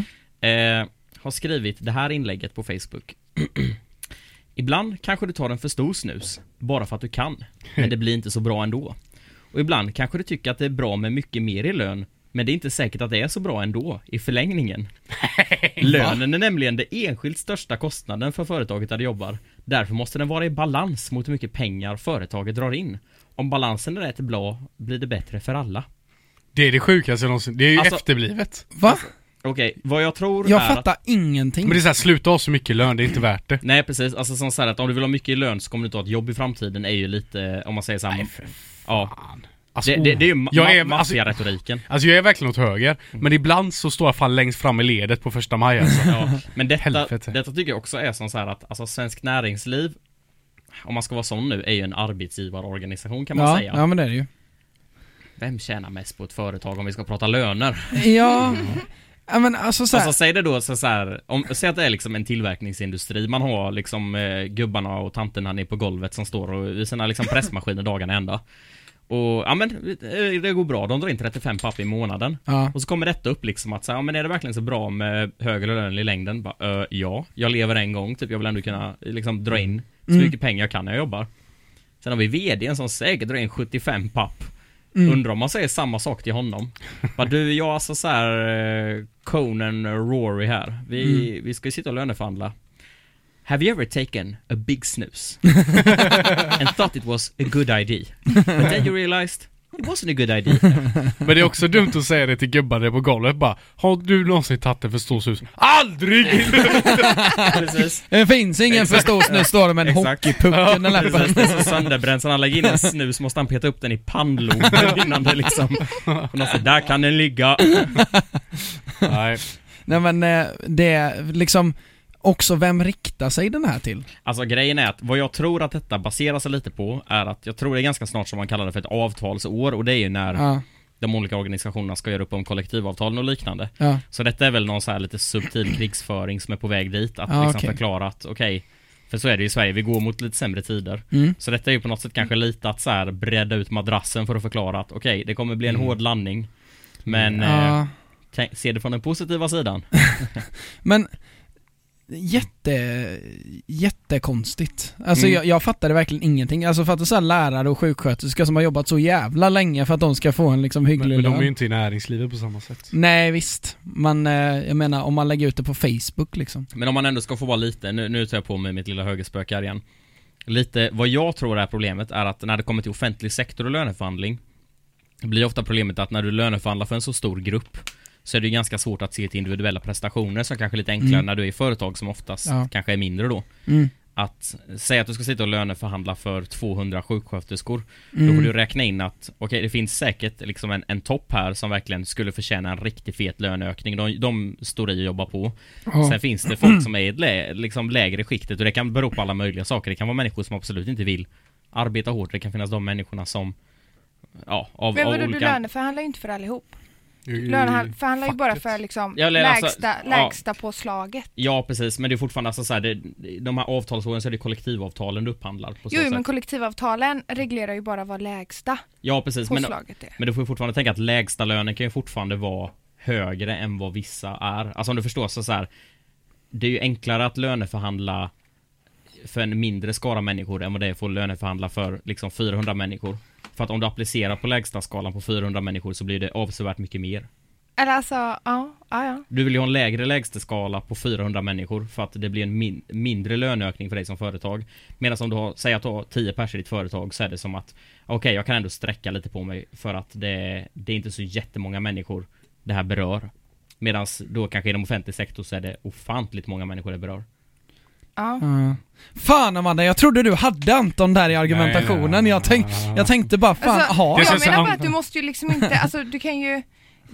B: eh, har skrivit det här inlägget på Facebook. (clears throat) ibland kanske du tar en för stor snus, bara för att du kan, men det blir inte så bra ändå. Och ibland kanske du tycker att det är bra med mycket mer i lön, men det är inte säkert att det är så bra ändå, i
C: (laughs)
B: förlängningen. Lönen är nämligen den enskilt största kostnaden för företaget där du jobbar. Därför måste den vara i balans mot hur mycket pengar företaget drar in. Om balansen är rätt bra, blir det bättre för alla.
D: Det är det sjukaste någonsin. Det är ju
B: Alltså-
D: efterblivet.
C: Va?
B: Okej, vad jag tror
C: Jag
B: Alltså, är att...
C: fattar ingenting.
D: Men det är såhär, sluta ha så mycket lön, det är inte värt det.
B: Nej precis, alltså som så här att om du vill ha mycket i lön så kommer du inte ha ett jobb i framtiden är ju lite, om man säger såhär Ja,
D: Alltså,
B: det, det, det är ju
D: jag är,
B: ma- Mm.
D: alltså, (laughs)
B: maffiaretoriken
D: alltså jag är verkligen åt höger, men ibland så står jag fan längst fram i ledet på första maj alltså.
B: (laughs) ja. Men detta,
D: Helvete.
B: detta tycker jag också är som så här att, alltså svensk näringsliv Om man ska vara sån nu, är ju en arbetsgivarorganisation kan man
C: ja,
B: säga
C: ja men det är det ju.
B: Vem tjänar mest på ett företag om vi ska prata löner?
C: Ja, ja men alltså så här,
B: Alltså säg det då så så här, om, säg att det är liksom en tillverkningsindustri Man har liksom eh, gubbarna och tanterna nere på golvet som står och, i sina liksom pressmaskiner dagarna ända Och ja men eh, det går bra, de drar in 35 papp i månaden
C: ja.
B: Och så kommer detta upp liksom att så här, ja, men är det verkligen så bra med högre lön i längden? Bara, "Eh, ja, jag lever en gång typ, jag vill ändå kunna eh, liksom dra in så
C: Mm.
B: mycket pengar jag kan när jag jobbar. Sen har vi vdn som säkert drar in 75 papp. Undrar om man säger samma sak till honom. Bara du, jag är alltså så här eh, Conan Rory här. Vi, vi ska ju sitta och löneförhandla. Have you ever taken a big snooze? And thought it was a good idea. But then you realized it wasn't a good idea.
D: Men det är också dumt att säga det till gubbarna på golvet bara, har du någonsin tagit en för stor snus? ALDRIG!
B: Precis.
C: Det finns ingen för stor snus står det med en
B: Exakt.
C: hockeypuck i den läppen.
B: Precis, det är så sönderbränt, så när han lägger in en snus måste han peta upp den i
C: (laughs)
B: pannloben innan det liksom... Och någon säger, där kan den ligga.
D: Nej.
C: Nej men eh, det är liksom också vem riktar sig den här till?
B: Alltså grejen är att vad jag tror att detta baserar sig lite på är att jag tror det är ganska snart som man kallar det för ett avtalsår och det är ju när
D: Mm.
C: Ja,
B: de olika organisationerna ska göra upp om kollektivavtalen och liknande.
C: ja,
B: Så detta är väl någon så här lite subtil krigsföring som är på väg dit, att
C: Ja,
B: liksom
C: okej.
B: förklara att okej, för så är det ju i Sverige, vi går mot lite sämre tider.
C: mm,
B: Så detta är ju på något sätt kanske lite att så här bredda ut madrassen för att förklara att okej, det kommer bli en hård landning. Men eh,
C: Mm. ja.
B: tänk- se det från den positiva sidan.
C: Men jätte, jättekonstigt. Alltså
D: Mm.
C: jag, jag fattade verkligen ingenting. Alltså fatta såhär lärare och sjuksköterskor som har jobbat så jävla länge för att de ska få en liksom
D: Men,
C: hygglig
D: men de är ju
C: lön.
D: inte i näringslivet på samma sätt.
C: Nej visst, men eh, jag menar om man lägger ut det på Facebook liksom.
B: Men om man ändå ska få vara lite, nu, nu tar jag på mig mitt lilla högerspöke här igen. lite vad jag tror är problemet är att när det kommer till offentlig sektor och löneförhandling blir ofta problemet att när du löneförhandlar för en så stor grupp så är det ju ganska svårt att se till individuella prestationer som kanske är lite enklare
C: Mm.
B: när du är i företag som oftast
C: Ja.
B: kanske är mindre då.
C: Mm.
B: Att säga att du ska sitta och löneförhandla för 200 sjuksköterskor Då får
C: Mm.
B: du räkna in att, okej det finns säkert liksom en, en topp här som verkligen skulle förtjäna en riktigt fet löneökning. De, de står i och jobbar på.
C: Ja.
B: Sen finns det folk som är i ett lä, liksom lägre skiktet och det kan bero på alla möjliga saker. Det kan vara människor som absolut inte vill arbeta hårt. Det kan finnas de människorna som, ja, av,
E: Men
B: av
E: vadå,
B: olika...
E: du löneförhandlar ju inte för allihop. Du löneförhandlar ju bara för liksom
B: Ja, eller alltså,
E: lägsta,
B: ja.
E: lägsta påslaget.
B: Ja precis, men det är fortfarande alltså så här, det, de här avtalsåren så är det kollektivavtalen du upphandlar. På så
E: Jo,
B: sätt.
E: men kollektivavtalen reglerar ju bara vad lägsta
B: ja precis, men,
E: påslaget är.
B: Men du får ju fortfarande tänka att lägsta lönen kan ju fortfarande vara högre än vad vissa är. Alltså om du förstår så, så här. Det är ju enklare att löneförhandla för en mindre skara människor än vad det är för att löneförhandla för liksom 400 människor. För att om du applicerar på lägsta skalan på 400 människor så blir det avsevärt mycket mer.
E: Eller alltså, ja, ja, ja.
B: Du vill ju ha en lägre lägsteskala på 400 människor för att det blir en min mindre löneökning för dig som företag. Medan om du har, säg att du har 10 pers i ditt företag så är det som att okej, jag kan ändå sträcka lite på mig för att det, det är inte så jättemånga människor det här berör. Medan då kanske inom offentlig sektor så är det ofantligt många människor det berör.
E: ja.
C: Ja. Fan Amanda, jag trodde du hade Anton där i argumentationen.
D: nej, nej.
C: jag, tänk, jag tänkte bara, fan,
E: Alltså,
C: har
D: Det
E: jag
D: känns-
E: menar bara att du måste ju liksom inte, alltså du kan ju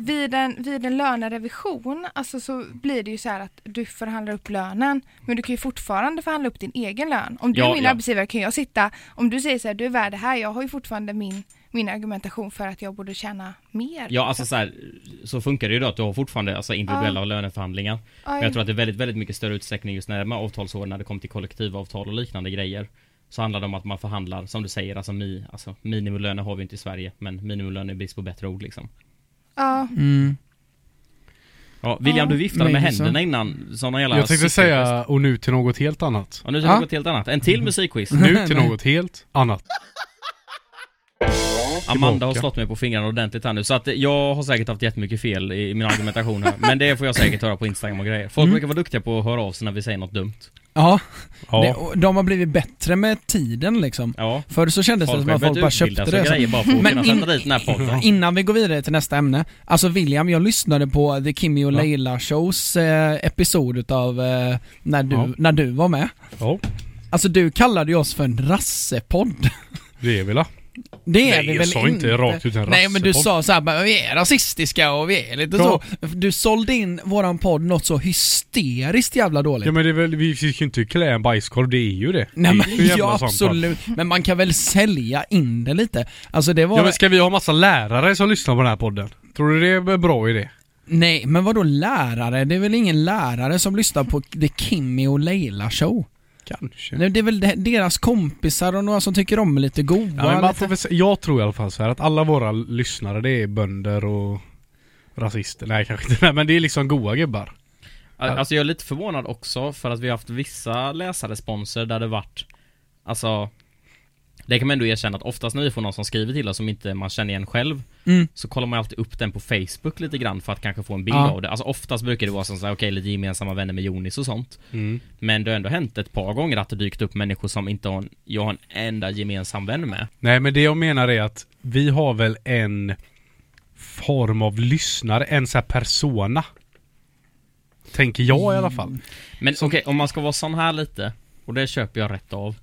E: vid en, vid en lönerevision, alltså så blir det ju så här att du förhandlar upp lönen, men du kan ju fortfarande förhandla upp din egen lön. Om du
B: Ja,
E: är min
B: ja.
E: arbetsgivare kan jag sitta, om du säger så här, du är värd det här, jag har ju fortfarande min, min argumentation för att jag borde tjäna mer.
B: Ja, alltså så, här, så funkar det ju då att du har fortfarande alltså, individuella löneförhandlingar. Men jag tror att det är väldigt, väldigt mycket större utsträckning just när de här avtalsåren när det kommer till kollektivavtal och liknande grejer. Så handlar det om att man förhandlar, som du säger, alltså, mi, alltså minimilöner har vi inte i Sverige, men minimilöner är brist på bättre ord liksom.
E: ja.
C: Mm.
B: Ja, William, du viftade med
C: maybe so.
B: händerna innan, sådana jävla
D: Jag tänkte
B: cykeltest.
D: säga, och nu till något
B: (laughs)
D: helt annat.
B: Och nu ska vi
C: Ja.
B: gå till helt annat. En till musikquiz.
D: (laughs) Nu till något helt annat.
B: Amanda har
D: tillbaka.
B: slått mig på fingrarna ordentligt här nu, så att eh, jag har säkert haft jättemycket fel i min argumentation här. Men det får jag säkert höra på Instagram och grejer. Folk
D: Mm.
B: brukar vara duktiga på att höra av sig när vi säger något dumt.
C: Ja, Det,
D: Ja.
C: och de har blivit bättre med tiden liksom.
B: Ja.
C: Förr så kändes det
B: Folk
C: som att
B: har
C: folk
B: ju
C: bara
B: börjat utbilda
C: köpte
B: sig
C: det.
B: och
C: Så.
B: grejer bara för att
C: Men
B: kunna
C: in-
B: sätta dit den här podden.
C: Innan vi går vidare till nästa ämne, alltså William, jag lyssnade på The Kimmy och
D: Ja.
C: Leila shows eh, episod utav eh, när, du,
D: Ja.
C: när du var med.
D: ja,
C: Alltså du kallade ju oss för en rassepodd. (laughs)
D: det är väl
C: Det är
D: Nej,
C: vi
D: jag
C: väl
D: sa inte rakt ut en
C: Nej men du
D: rassepodd.
C: sa såhär bara, vi är rasistiska och vi är lite
D: Ja.
C: så. Du sålde in våran podd något så hysteriskt jävla dåligt.
D: Ja men det är väl, vi fick ju inte klä en bajskorv, det är ju det.
C: Nej
D: det
C: men
D: är ju
C: ja,
D: jävla sant, va?
B: alltså.
C: absolut, men man kan väl sälja in det lite? Alltså det var...
D: Ja men ska vi ha massa lärare som lyssnar på den här podden? Tror du det är en bra idé?
C: Nej men vadå lärare? Det är väl ingen lärare som lyssnar på The Kimmy och Leila show?
D: Kanske.
C: Nej, det är väl de- deras kompisar och några som tycker om lite goa
D: Ja, men man
C: lite...
D: får väl, se- jag tror i alla fall så här att alla våra lyssnare det är bönder och rasister. Nej kanske inte, Nej, men det är liksom goa gubbar.
B: Alltså jag är lite förvånad också för att vi har haft vissa läsarresponser där det varit Alltså Det kan man ändå erkänna att oftast när vi får någon som skriver till oss som inte man känner igen själv
C: Mm.
B: Så kollar man ju alltid upp den på Facebook lite grann för att kanske få en bild
C: Ja.
B: av det Alltså oftast brukar det vara som såhär, okej lite gemensamma vänner med Jonis och sånt
D: Mm.
B: Men det har ändå hänt ett par gånger att det dykt upp människor som inte har en, jag har en enda gemensam vän med
D: Nej men det jag menar är att vi har väl en form av lyssnare, en så här persona. Tänker jag i alla
C: Mm.
D: fall.
B: Men okej, om man ska vara sån här lite, och det köper jag rätt av.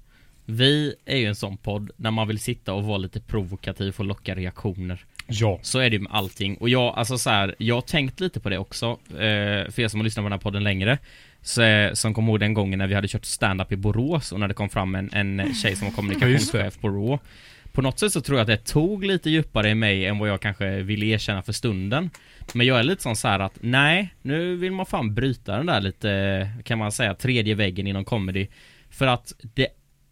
B: Vi är ju en sån podd när man vill sitta och vara lite provokativ och locka reaktioner.
D: Ja.
B: Så är det ju med allting. Och jag, alltså så här, jag har tänkt lite på det också. Eh, för er som har lyssnat på den här podden längre. Så, eh, som kommer ihåg den gången när vi hade kört stand-up i Borås och när det kom fram en, en tjej som var
D: Ja,
B: kommunikationschef på Raw. På något sätt så tror jag att det tog lite djupare i mig än vad jag kanske ville erkänna för stunden. Men jag är lite sån så här att nej, nu vill man fan bryta den där lite, kan man säga, tredje väggen inom comedy. För att det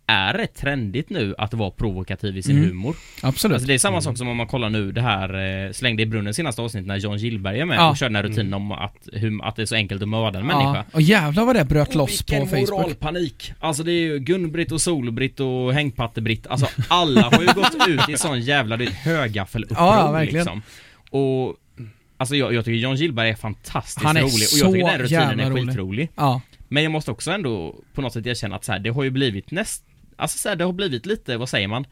B: är rätt trendigt nu att vara provokativ i sin
C: Mm.
B: humor.
C: Absolut. Mm.
B: Alltså det är samma sak som om man kollar nu det här eh, Slängde i brunnen senaste avsnittet när John Gillberg är med
C: Ja. Mm.
B: och kör den här rutinen om att, hur, att det är så enkelt att mörda en
C: ja.
B: människa.
C: Och jävlar vad det bröt loss på
B: vilken
C: Facebook.
B: moralpanik! Alltså det är ju Gun-Britt och Sol-Britt och Hängpatte-Britt,
C: (laughs)
B: alltså alla har ju gått ut i sån jävla det är ett högaffeluppror
C: Ja, ja, verkligen.
B: liksom. Och Alltså jag, jag tycker John Gillberg är fantastiskt
C: Han är
B: rolig och
C: så
B: jag tycker den här rutinen
C: jävla
B: är
C: rolig.
B: skitrolig.
C: Ja.
B: Men jag måste också ändå på något sätt erkänna att så här, det har ju blivit näst Alltså så här, det har blivit lite, vad säger man?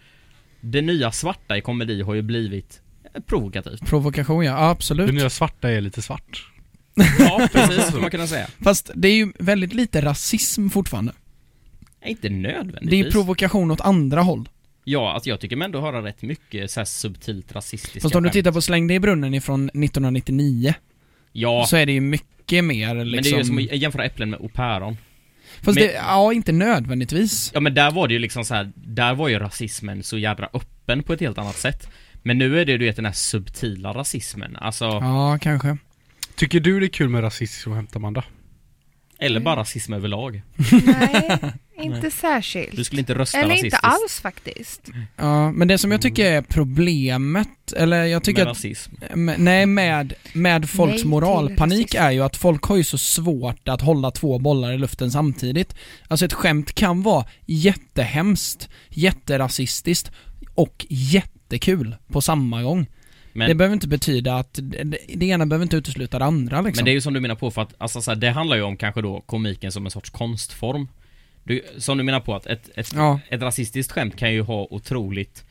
B: Det nya svarta i komedi har ju blivit eh, provokativt.
C: Provokation ja, ja
D: Det
C: absolut.
D: nya svarta är lite svart.
B: (laughs) Ja, precis skulle man kunna säga.
C: Fast det är ju väldigt lite rasism fortfarande.
B: Nej, Inte
C: Det är ju
B: nödvändigtvis.
C: provokation åt andra håll.
B: ja, alltså jag tycker man ändå höra rätt mycket så här subtilt rasistiska
C: Fast om du
B: skämt.
C: tittar på Släng dig i brunnen ifrån 1999
B: Ja,
C: så är det ju mycket mer liksom...
B: men det är ju som att jämföra äpplen med och päron.
C: Fast
B: men-
C: det, ja inte nödvändigtvis.
B: Ja men där var det ju liksom så här, där var ju rasismen så jädra öppen på ett helt annat sätt. Men nu är det ju du vet den här subtila rasismen, alltså,
C: Ja, kanske.
D: Tycker du det är kul med rasism och hämta Amanda?
B: eller bara rasism överlag.
C: (laughs)
E: Nej, inte särskilt.
B: Du skulle inte rösta
E: Eller
B: rasistiskt.
E: inte alls faktiskt.
C: Ja, men det som jag tycker är problemet, eller jag tycker
B: Mm. med
C: att
B: rasism.
C: Men- Nej, med, med folks
E: till
C: moralpanik
E: rasism.
C: är ju att folk har ju så svårt att hålla två bollar i luften samtidigt. Alltså ett skämt kan vara jättehemskt, jätterasistiskt och jättekul på samma gång.
B: Men,
C: Det behöver inte betyda att det, det ena behöver inte utesluta det andra liksom.
B: men det är ju som du menar på för att, alltså så här, det handlar ju om kanske då komiken som en sorts konstform. Du, som du menar på att ett, ett,
C: Ja,
B: ett rasistiskt skämt kan ju ha otroligt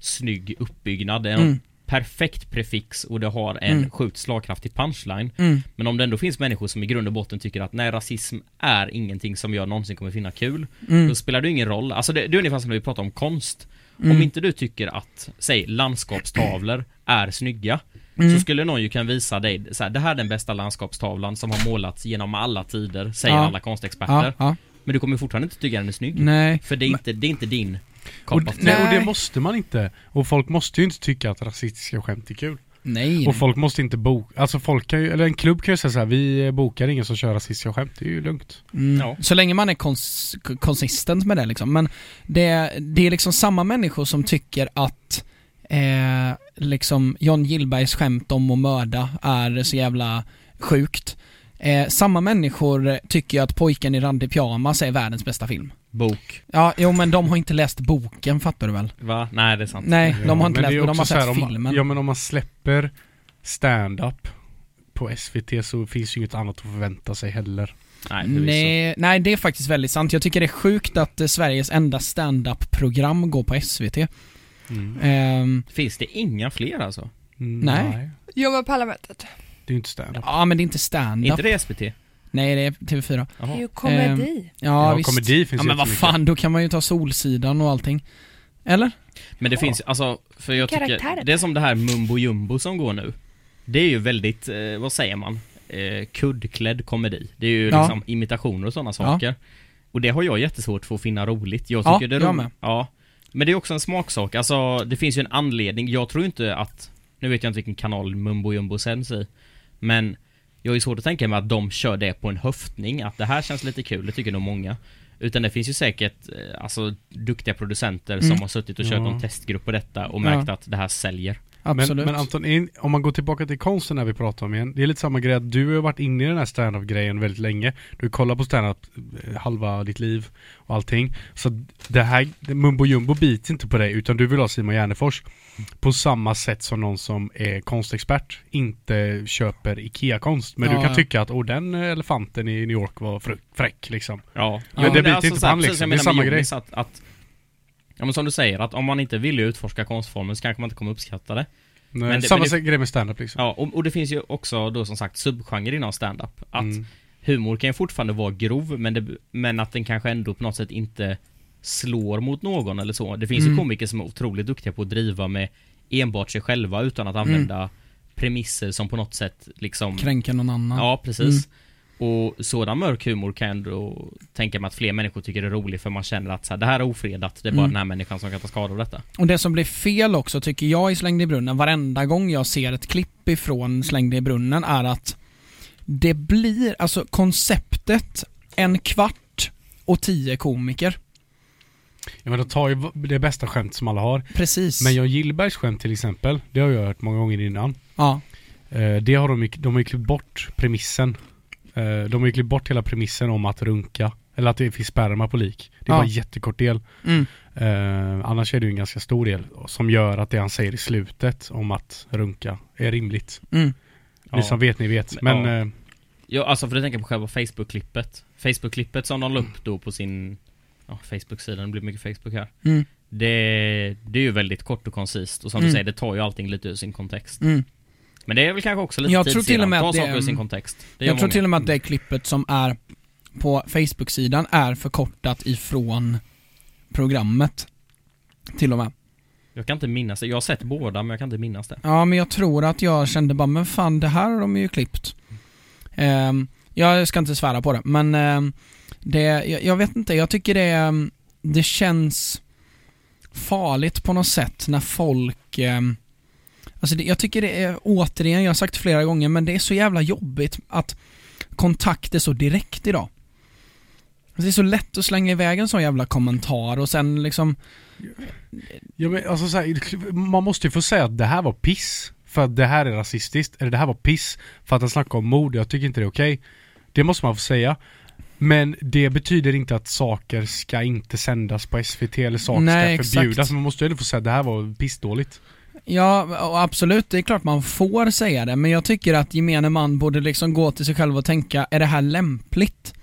B: snygg uppbyggnad, det är en
C: mm,
B: perfekt prefix och det har en
C: Mm.
B: sjukt slagkraftig punchline.
C: mm,
B: Men om det ändå finns människor som i grund och botten tycker att nej, rasism är ingenting som jag någonsin kommer finna kul.
C: mm,
B: Då spelar det ingen roll. Alltså det, det är ungefär som när vi pratar om konst. Om
C: mm,
B: inte du tycker att, säg landskapstavlor är snygga. Så
C: mm.
B: skulle någon ju kunna visa dig, så här, det här är den bästa landskapstavlan som har målats genom alla tider, säger
C: Ja.
B: alla
C: Ja,
B: konstexperter.
C: ja, Mm.
B: Men du kommer ju fortfarande inte tycka den är snygg.
C: nej.
B: För det är, inte, det är inte din
D: Och,
B: cup of tea.
D: nej, och det
E: Nej.
D: måste man inte. Och folk måste ju inte tycka att rasistiska skämt är kul.
C: Nej.
D: Och folk måste inte boka, alltså folk kan ju, eller en klubb kan ju säga så här, vi bokar ingen som kör rasistiska skämt, det är ju lugnt.
C: Mm.
B: Ja.
C: Så länge man är kons- k- konsistent med det liksom. Men det, det är liksom samma människor som tycker att eh, liksom John Gillbergs skämt om att mörda är så jävla sjukt. Eh, samma människor tycker att Pojken i randig pyjamas är världens bästa film.
B: Bok.
C: Ja, jo men de har inte läst boken fattar du väl?
B: Va? Nej, det är sant.
C: Nej, de har
D: Ja,
C: inte
D: men
C: läst
D: det är
C: boken, de har
D: också så här,
C: sett
D: om man-
C: filmen.
D: Ja men om man släpper stand-up på SVT så finns ju inget annat att förvänta sig heller.
B: Nej, förvisso.
C: Nej, nej, det är faktiskt väldigt sant. Jag tycker det är sjukt att eh, Sveriges enda stand-up-program går på SVT. Ehm,
B: Finns det inga fler alltså?
D: Mm,
C: Nej.
E: Jobba på Parlamentet.
D: Det är ju inte stand-up.
C: ja, men det är inte
B: Är
C: stand-up.
B: Inte det SVT?
C: Nej, det är TV4.
E: Det är
B: Jaha.
E: ju
C: ehm,
E: komedi.
C: Ja,
D: ja,
C: visst.
D: komedi finns
C: ja,
D: ju
C: men vad
D: jättemycket.
C: fan, då kan man ju ta Solsidan och allting. Eller?
B: Men det finns, alltså, för jag tycker,
E: Karaktärer.
B: det är som det här mumbo jumbo som går nu Det är ju väldigt, eh, vad säger man? Eh, kuddklädd komedi Det är ju
C: Ja.
B: liksom imitationer och sådana saker Och det har jag jättesvårt för att finna roligt Jag
C: Ja,
B: tycker det är
C: jag
B: roligt
C: med.
B: Ja, men det är också en smaksak, alltså det finns ju en anledning Jag tror inte att, nu vet jag inte vilken kanal mumbo jumbo sänds i Men jag har ju svårt att tänka mig att de kör det på en höftning, att det här känns lite kul, det tycker nog många utan det finns ju säkert eh, alltså, duktiga producenter som
C: Mm.
B: har suttit och kört
D: Ja.
B: någon testgrupp på detta och märkt att det här säljer.
D: Men,
C: Absolut.
D: men Anton, in- om man går tillbaka till konsten när vi pratar om igen, det är lite samma grej att du har varit inne i den här stand-up grejen väldigt länge. Du kollar på stand-up eh, halva ditt liv och allting. Så det här, det mumbo jumbo biter inte på dig utan du vill ha Simon Gärdenfors på samma sätt som någon som är konstexpert inte köper IKEA-konst. Men
C: Ja,
D: du kan
C: ja.
D: tycka att åh den elefanten i New York var fru- fräck liksom.
B: Ja, alltså,
C: Ja. det
D: biter inte på han liksom. Det är samma grej.
B: Att, att, ja, men som du säger, att om man inte vill utforska konstformen så kanske man inte kommer uppskatta det.
D: Nej,
B: Men det-
D: Eh, samma
B: men det-
D: sä- grej med stand-up liksom.
B: Ja, och, och det finns ju också då som sagt subgenrer inom stand-up. Att
D: Mm.
B: humor kan ju fortfarande vara grov, men, det, men att den kanske ändå på något sätt inte slår mot någon eller så. Det finns ju
C: Mm.
B: komiker som är otroligt duktiga på att driva med enbart sig själva utan
C: Mm.
B: att använda premisser som på något sätt liksom
C: Kränka någon annan.
B: Ja, precis.
C: Mm.
B: Och sådan mörk humor kan jag ändå tänka mig att fler människor tycker är rolig för man känner att så här, det här är ofredat, det är bara
C: Mm.
B: den här människan som kan ta skada av detta.
C: Och det som blir fel också tycker jag i Släng dig i brunnen, varenda gång jag ser ett klipp ifrån Släng dig i brunnen är att det blir, alltså konceptet, en kvart och tio komiker.
D: Ja, men de tar ju v- det bästa skämt som alla har.
C: Precis.
D: Men John Gillbergs skämt till exempel, det har jag hört många gånger innan.
C: Ja.
D: Eh, Det har de, ju- de har ju klippt bort premissen. Eh, De har ju klippt bort hela premissen om att runka. Eller att det finns sperma på lik. Det är
C: Ja.
D: bara en jättekort del.
C: Mm.
D: Eh, annars är det ju en ganska stor del som gör att det han säger i slutet om att runka är rimligt.
C: Mm.
B: Ja.
D: Ni som vet, ni vet. Men
B: Ja.
D: eh,
B: Ja, alltså för att tänka på själva Facebook-klippet. Facebook-klippet som de la upp då på sin ja, Facebook-sidan, det blir mycket Facebook här.
C: Mm.
B: Det, det är ju väldigt kort och koncist och som du
C: Mm.
B: säger, det tar ju allting lite ur sin kontext.
C: Mm.
B: Men det är väl kanske också lite
C: Jag tror till och med
B: tidseran.
C: att
B: Ta
C: det-
B: saker ur sin kontext. Det
C: Jag tror till och med att det klippet som är på Facebook-sidan är förkortat ifrån programmet. Till och med.
B: jag kan inte minnas det. Jag har sett båda men jag kan inte minnas det.
C: Ja, men jag tror att jag kände bara, men fan det här har de ju klippt. Ehm, jag ska inte svära på det, men ehm, det, jag, jag vet inte, jag tycker det, ehm, det känns farligt på något sätt när folk ehm, Alltså det, jag tycker det är, återigen, jag har sagt flera gånger, men det är så jävla jobbigt att kontakt är så direkt idag. Alltså det är så lätt att slänga iväg en sån jävla kommentar och sen liksom,
D: Ja, men alltså, så här, man måste ju få säga att det här var piss för att det här är rasistiskt, eller det här var piss för att han snackade om mord, jag tycker inte det är okej. Det måste man få säga. Men det betyder inte att saker ska inte sändas på SVT eller saker
C: Nej,
D: ska
C: exakt.
D: förbjudas. Man måste ju ändå få säga att det här var pissdåligt.
C: Ja, och absolut, det är klart man får säga det, men jag tycker att gemene man borde liksom gå till sig själv och tänka, är det här lämpligt?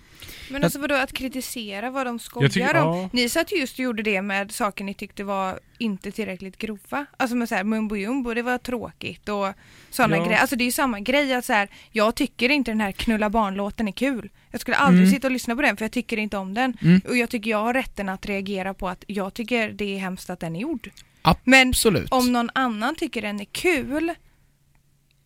E: Men alltså vadå att kritisera vad de skojar
D: Jag tycker-
E: om?
D: ja.
E: Ni satt ju just och gjorde det med saker ni tyckte var inte tillräckligt grova. Alltså med så här mumbo jumbo, det var tråkigt och sådana
D: Ja.
E: grejer. Alltså det är ju samma grej att så här, jag tycker inte den här knulla barnlåten är kul. Jag skulle aldrig
D: Mm.
E: sitta och lyssna på den för jag tycker inte om den.
C: Mm.
E: Och jag tycker jag har rätten att reagera på att jag tycker det är hemskt att den är gjord. Men
C: Absolut.
E: om någon annan tycker den är kul,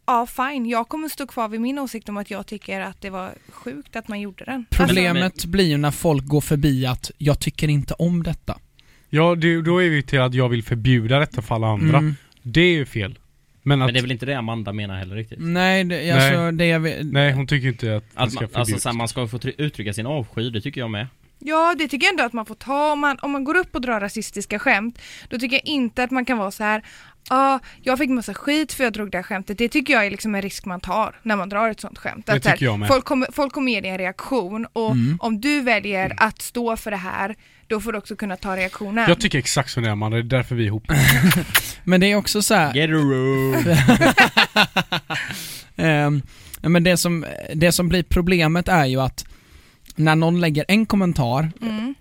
E: ja fine, jag kommer stå kvar vid min åsikt om att jag tycker att det var sjukt att man gjorde den.
C: Problemet
B: Alltså,
C: blir ju när folk går förbi att, jag tycker inte om detta.
D: Ja, det, då är vi till att jag vill förbjuda detta för alla andra.
C: Mm.
D: Det är ju fel. Men att,
B: Men det är väl inte det Amanda menar heller riktigt?
C: Nej, det, alltså
D: Nej.
C: det jag vill...
D: nej hon tycker inte att, det
B: Att
D: ska
B: man,
D: förbjudas.
B: alltså, så här, man ska få try- uttrycka sin avsky, det tycker jag med.
E: Ja, det tycker jag ändå att man får ta. Om man, om man går upp och drar rasistiska skämt, då tycker jag inte att man kan vara så här Ja, jag fick massa skit för jag drog det här skämtet. Det tycker jag är liksom en risk man tar när man drar ett sånt skämt.
D: Det
E: så här,
D: tycker jag med. Mm.
E: folk, kommer, folk kommer ge dig en reaktion och om du väljer att stå för det här, då får du också kunna ta reaktionen.
D: Jag tycker exakt som det är Amanda, det är därför vi
C: (laughs)
D: är ihop.
C: Men det är också så här,
B: Get a room.
C: (laughs) Ehm, ja, men det som, det som blir problemet är ju att när någon lägger en kommentar,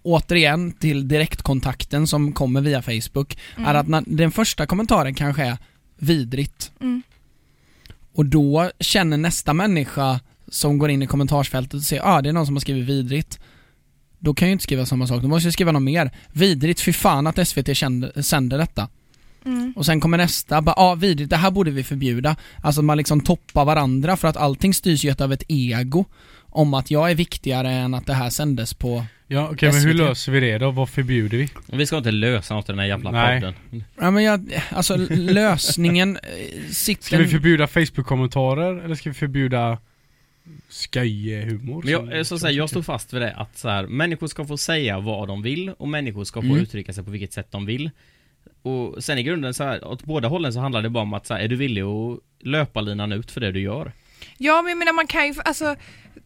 C: återigen till direktkontakten som kommer via Facebook, är att när, den första kommentaren kanske är vidrigt. Och då känner nästa människa som går in i kommentarsfältet och ser ah, det är någon som har skrivit vidrigt. Då kan jag ju inte skriva samma sak, då måste jag skriva något mer. Vidrigt, fy fan att SVT kände, sänder detta. Och sen kommer nästa, bara ah, vidrigt, det här borde vi förbjuda. Alltså man liksom toppar varandra för att allting styrs ju av ett ego. Om att jag är viktigare än att det här sändes på...
D: Ja, okej men hur
C: SVT.
D: löser vi det då? Vad förbjuder vi?
B: Vi ska inte lösa något i den här jävla
D: Nej.
B: podden.
C: Ja men jag, alltså lösningen eh,
D: Ska
C: sitter...
D: vi förbjuda Facebook-kommentarer eller ska vi förbjuda sköjehumor?
B: Men jag, eh, så att säga, jag står fast vid det att så här, människor ska få säga vad de vill och människor ska få
C: Mm.
B: uttrycka sig på vilket sätt de vill. Och sen i grunden så här, åt båda hållen så handlar det bara om att så här, är du villig att löpa linan ut för det du gör?
E: Ja men jag menar man kan ju, alltså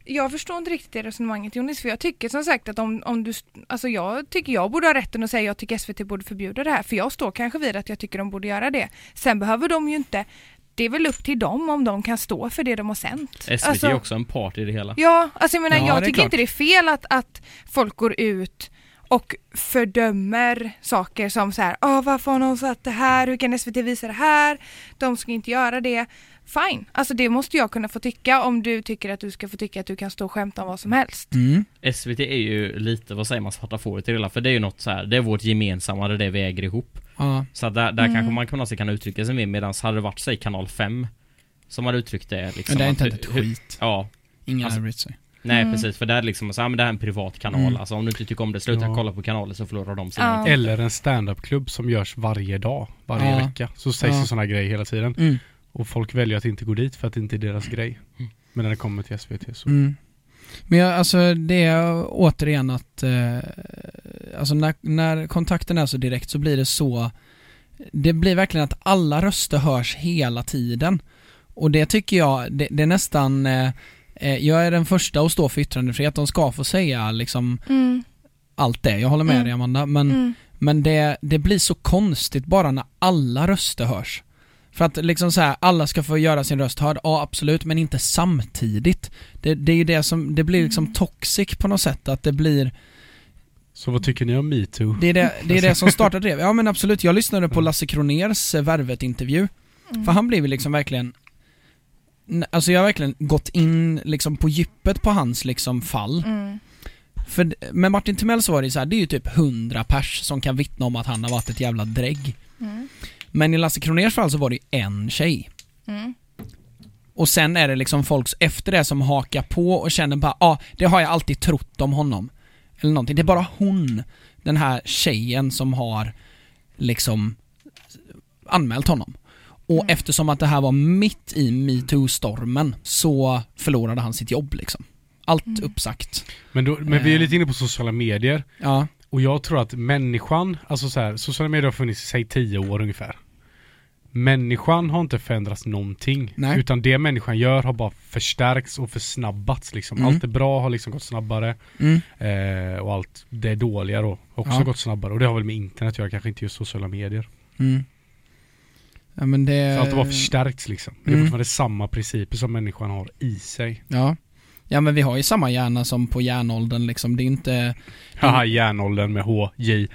E: jag förstår inte riktigt det resonemanget Jonas för jag tycker som sagt att om, om du, alltså jag tycker jag borde ha rätten att säga jag tycker SVT borde förbjuda det här för jag står kanske vid att jag tycker de borde göra det. Sen behöver de ju inte, det är väl upp till dem om de kan stå för det de har sänt.
B: SVT
E: Alltså,
B: är också en part i det hela.
E: Ja, alltså jag menar
C: Ja, det
E: jag
C: är
E: tycker
C: klart.
E: inte det är fel att, att folk går ut och fördömer saker som så här, Åh, varför har någon satt det här, hur kan SVT visa det här, de ska inte göra det. Fine, alltså det måste jag kunna få tycka om du tycker att du ska få tycka att du kan stå och skämta om vad som helst.
C: Mm.
B: SVT är ju lite, vad säger man, svarta fåret i det hela. För det är ju något så här, det är vårt gemensamma, det är det vi äger ihop.
C: Ja.
B: Så att där, där
C: Mm.
B: kanske man kan, kan uttrycka sig mer, medan hade det varit, säg kanal 5 som hade uttryckt det liksom.
C: Men det är
B: att
C: inte
B: hur-
C: ett
B: hur-
C: skit.
B: Ja,
C: Ingen
B: alltså-
C: har brytt sig.
B: Nej precis, för det är liksom så här, men det här är en privat kanal.
C: Mm.
B: Alltså om du inte tycker om det, sluta
D: Ja.
B: kolla på kanaler så förlorar de sina
E: Ja.
D: Eller en standup-klubb som görs varje dag, varje
C: Ja.
D: vecka. Så sägs
C: Ja.
D: det sådana grejer hela tiden.
C: Mm.
D: Och folk väljer att inte gå dit för att det inte är deras grej.
B: Mm.
D: Men när det kommer till SVT så...
C: Mm. Men jag, alltså det är återigen att, eh, alltså när, när kontakten är så direkt så blir det så, det blir verkligen att alla röster hörs hela tiden. Och det tycker jag, det, det är nästan, eh, eh, jag är den första att stå för yttrandefrihet, de ska få säga liksom
E: Mm,
C: allt det, jag håller med
E: Mm.
C: dig Amanda, men,
E: mm.
C: men det, det blir så konstigt bara när alla röster hörs. För att liksom så här, alla ska få göra sin röst hörd, ja absolut, men inte samtidigt. Det, det är ju det som, det blir liksom toxic på något sätt, att det blir
D: Så vad tycker ni om metoo?
C: Det är det, det, är det som startade det. Ja men absolut, jag lyssnade på Lasse Kroners eh, Värvet-intervju.
E: Mm.
C: För han blev ju liksom verkligen n- Alltså jag har verkligen gått in liksom på djupet på hans liksom fall.
E: Mm.
C: För d- med Martin Timell så var det ju så här, det är ju typ 100 pers som kan vittna om att han har varit ett jävla drägg.
E: Mm.
C: Men i Lasse Kroners fall så var det ju en tjej.
E: Mm.
C: Och sen är det liksom folk efter det som hakar på och känner bara, ja ah, det har jag alltid trott om honom. Eller någonting. Det är bara hon, den här tjejen som har liksom anmält honom. Och eftersom att det här var mitt i metoo-stormen så förlorade han sitt jobb liksom. Allt uppsagt.
D: Men, då, men
C: Eh.
D: vi är lite inne på sociala medier.
C: Ja.
D: Och jag tror att människan, alltså så här, sociala medier har funnits i säg 10 år ungefär. Människan har inte förändrats någonting.
C: Nej.
D: Utan det människan gör har bara förstärkts och försnabbats liksom.
C: Mm.
D: Allt det bra har liksom gått snabbare.
C: Mm.
D: Eh, och allt det dåliga då har också
C: Ja.
D: gått snabbare. Och det har väl med internet att göra, kanske inte just sociala medier.
C: Mm. Ja men det...
D: Så allt har bara förstärkts liksom. Det är
C: Eh. Mm.
D: fortfarande samma principer som människan har i sig.
C: Ja. Ja men vi har ju samma hjärna som på järnåldern liksom. Det är inte...
D: Haha, järnåldern med HJ.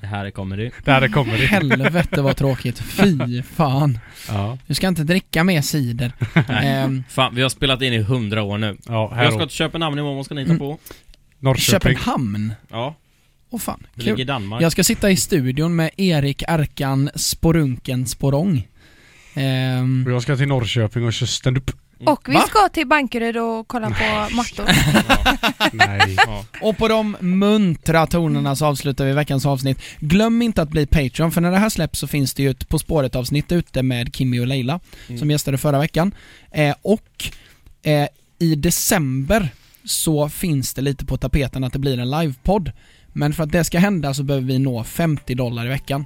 B: Det här kommer det.
D: Där kommer det.
C: Helvete vad tråkigt. Fy fan.
D: Ja,
C: Du ska inte dricka
B: (laughs)
C: mer cider. Ehm,
B: Fan, vi har spelat in i hundra år nu.
D: ja här
B: Jag ska
D: ska...
B: till Köpenhamn imorgon, vad ska
C: Mm.
B: ni ta på?
D: Norrköping.
C: Köpenhamn.
B: Ja,
C: Åh fan,
B: det ligger i
C: kul.
B: Danmark.
C: Jag ska sitta i studion med Erik Arkan Sporunken Sporong. Ehm,
D: Och jag ska till Norrköping och köra stand-up.
E: Och vi
C: Va?
E: ska till Bankeryd och kolla på
C: (laughs)
E: mattor.
D: Nej.
B: Ja.
C: och på de muntra tonerna så avslutar vi veckans avsnitt. Glöm inte att bli Patreon, för när det här släpps så finns det ju ett På spåret-avsnitt ute med Kimmy och Leila,
B: Mm.
C: som gästade förra veckan. Eh, och eh, i december så finns det lite på tapeten att det blir en livepodd. Men för att det ska hända så behöver vi nå 50 dollar i veckan.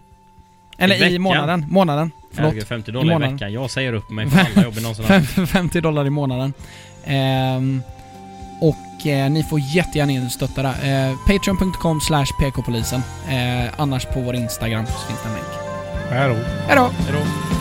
C: Eller i,
B: veckan?
C: månaden. Månaden. Förlåt.
B: Herregud, 50
C: I
B: dollar i
C: månaden.
B: veckan. Jag säger upp
C: (laughs)
B: mig från alla jobb jag någonsin haft.
C: Fem- (laughs) 50 dollar i månaden. Ehm, och eh, ni får jättegärna in och stötta det. Eh, Patreon.com slash pkpolisen. Eh, annars på vår Instagram så finns det en länk.
D: Här då.
C: Hejdå!
B: Hejdå.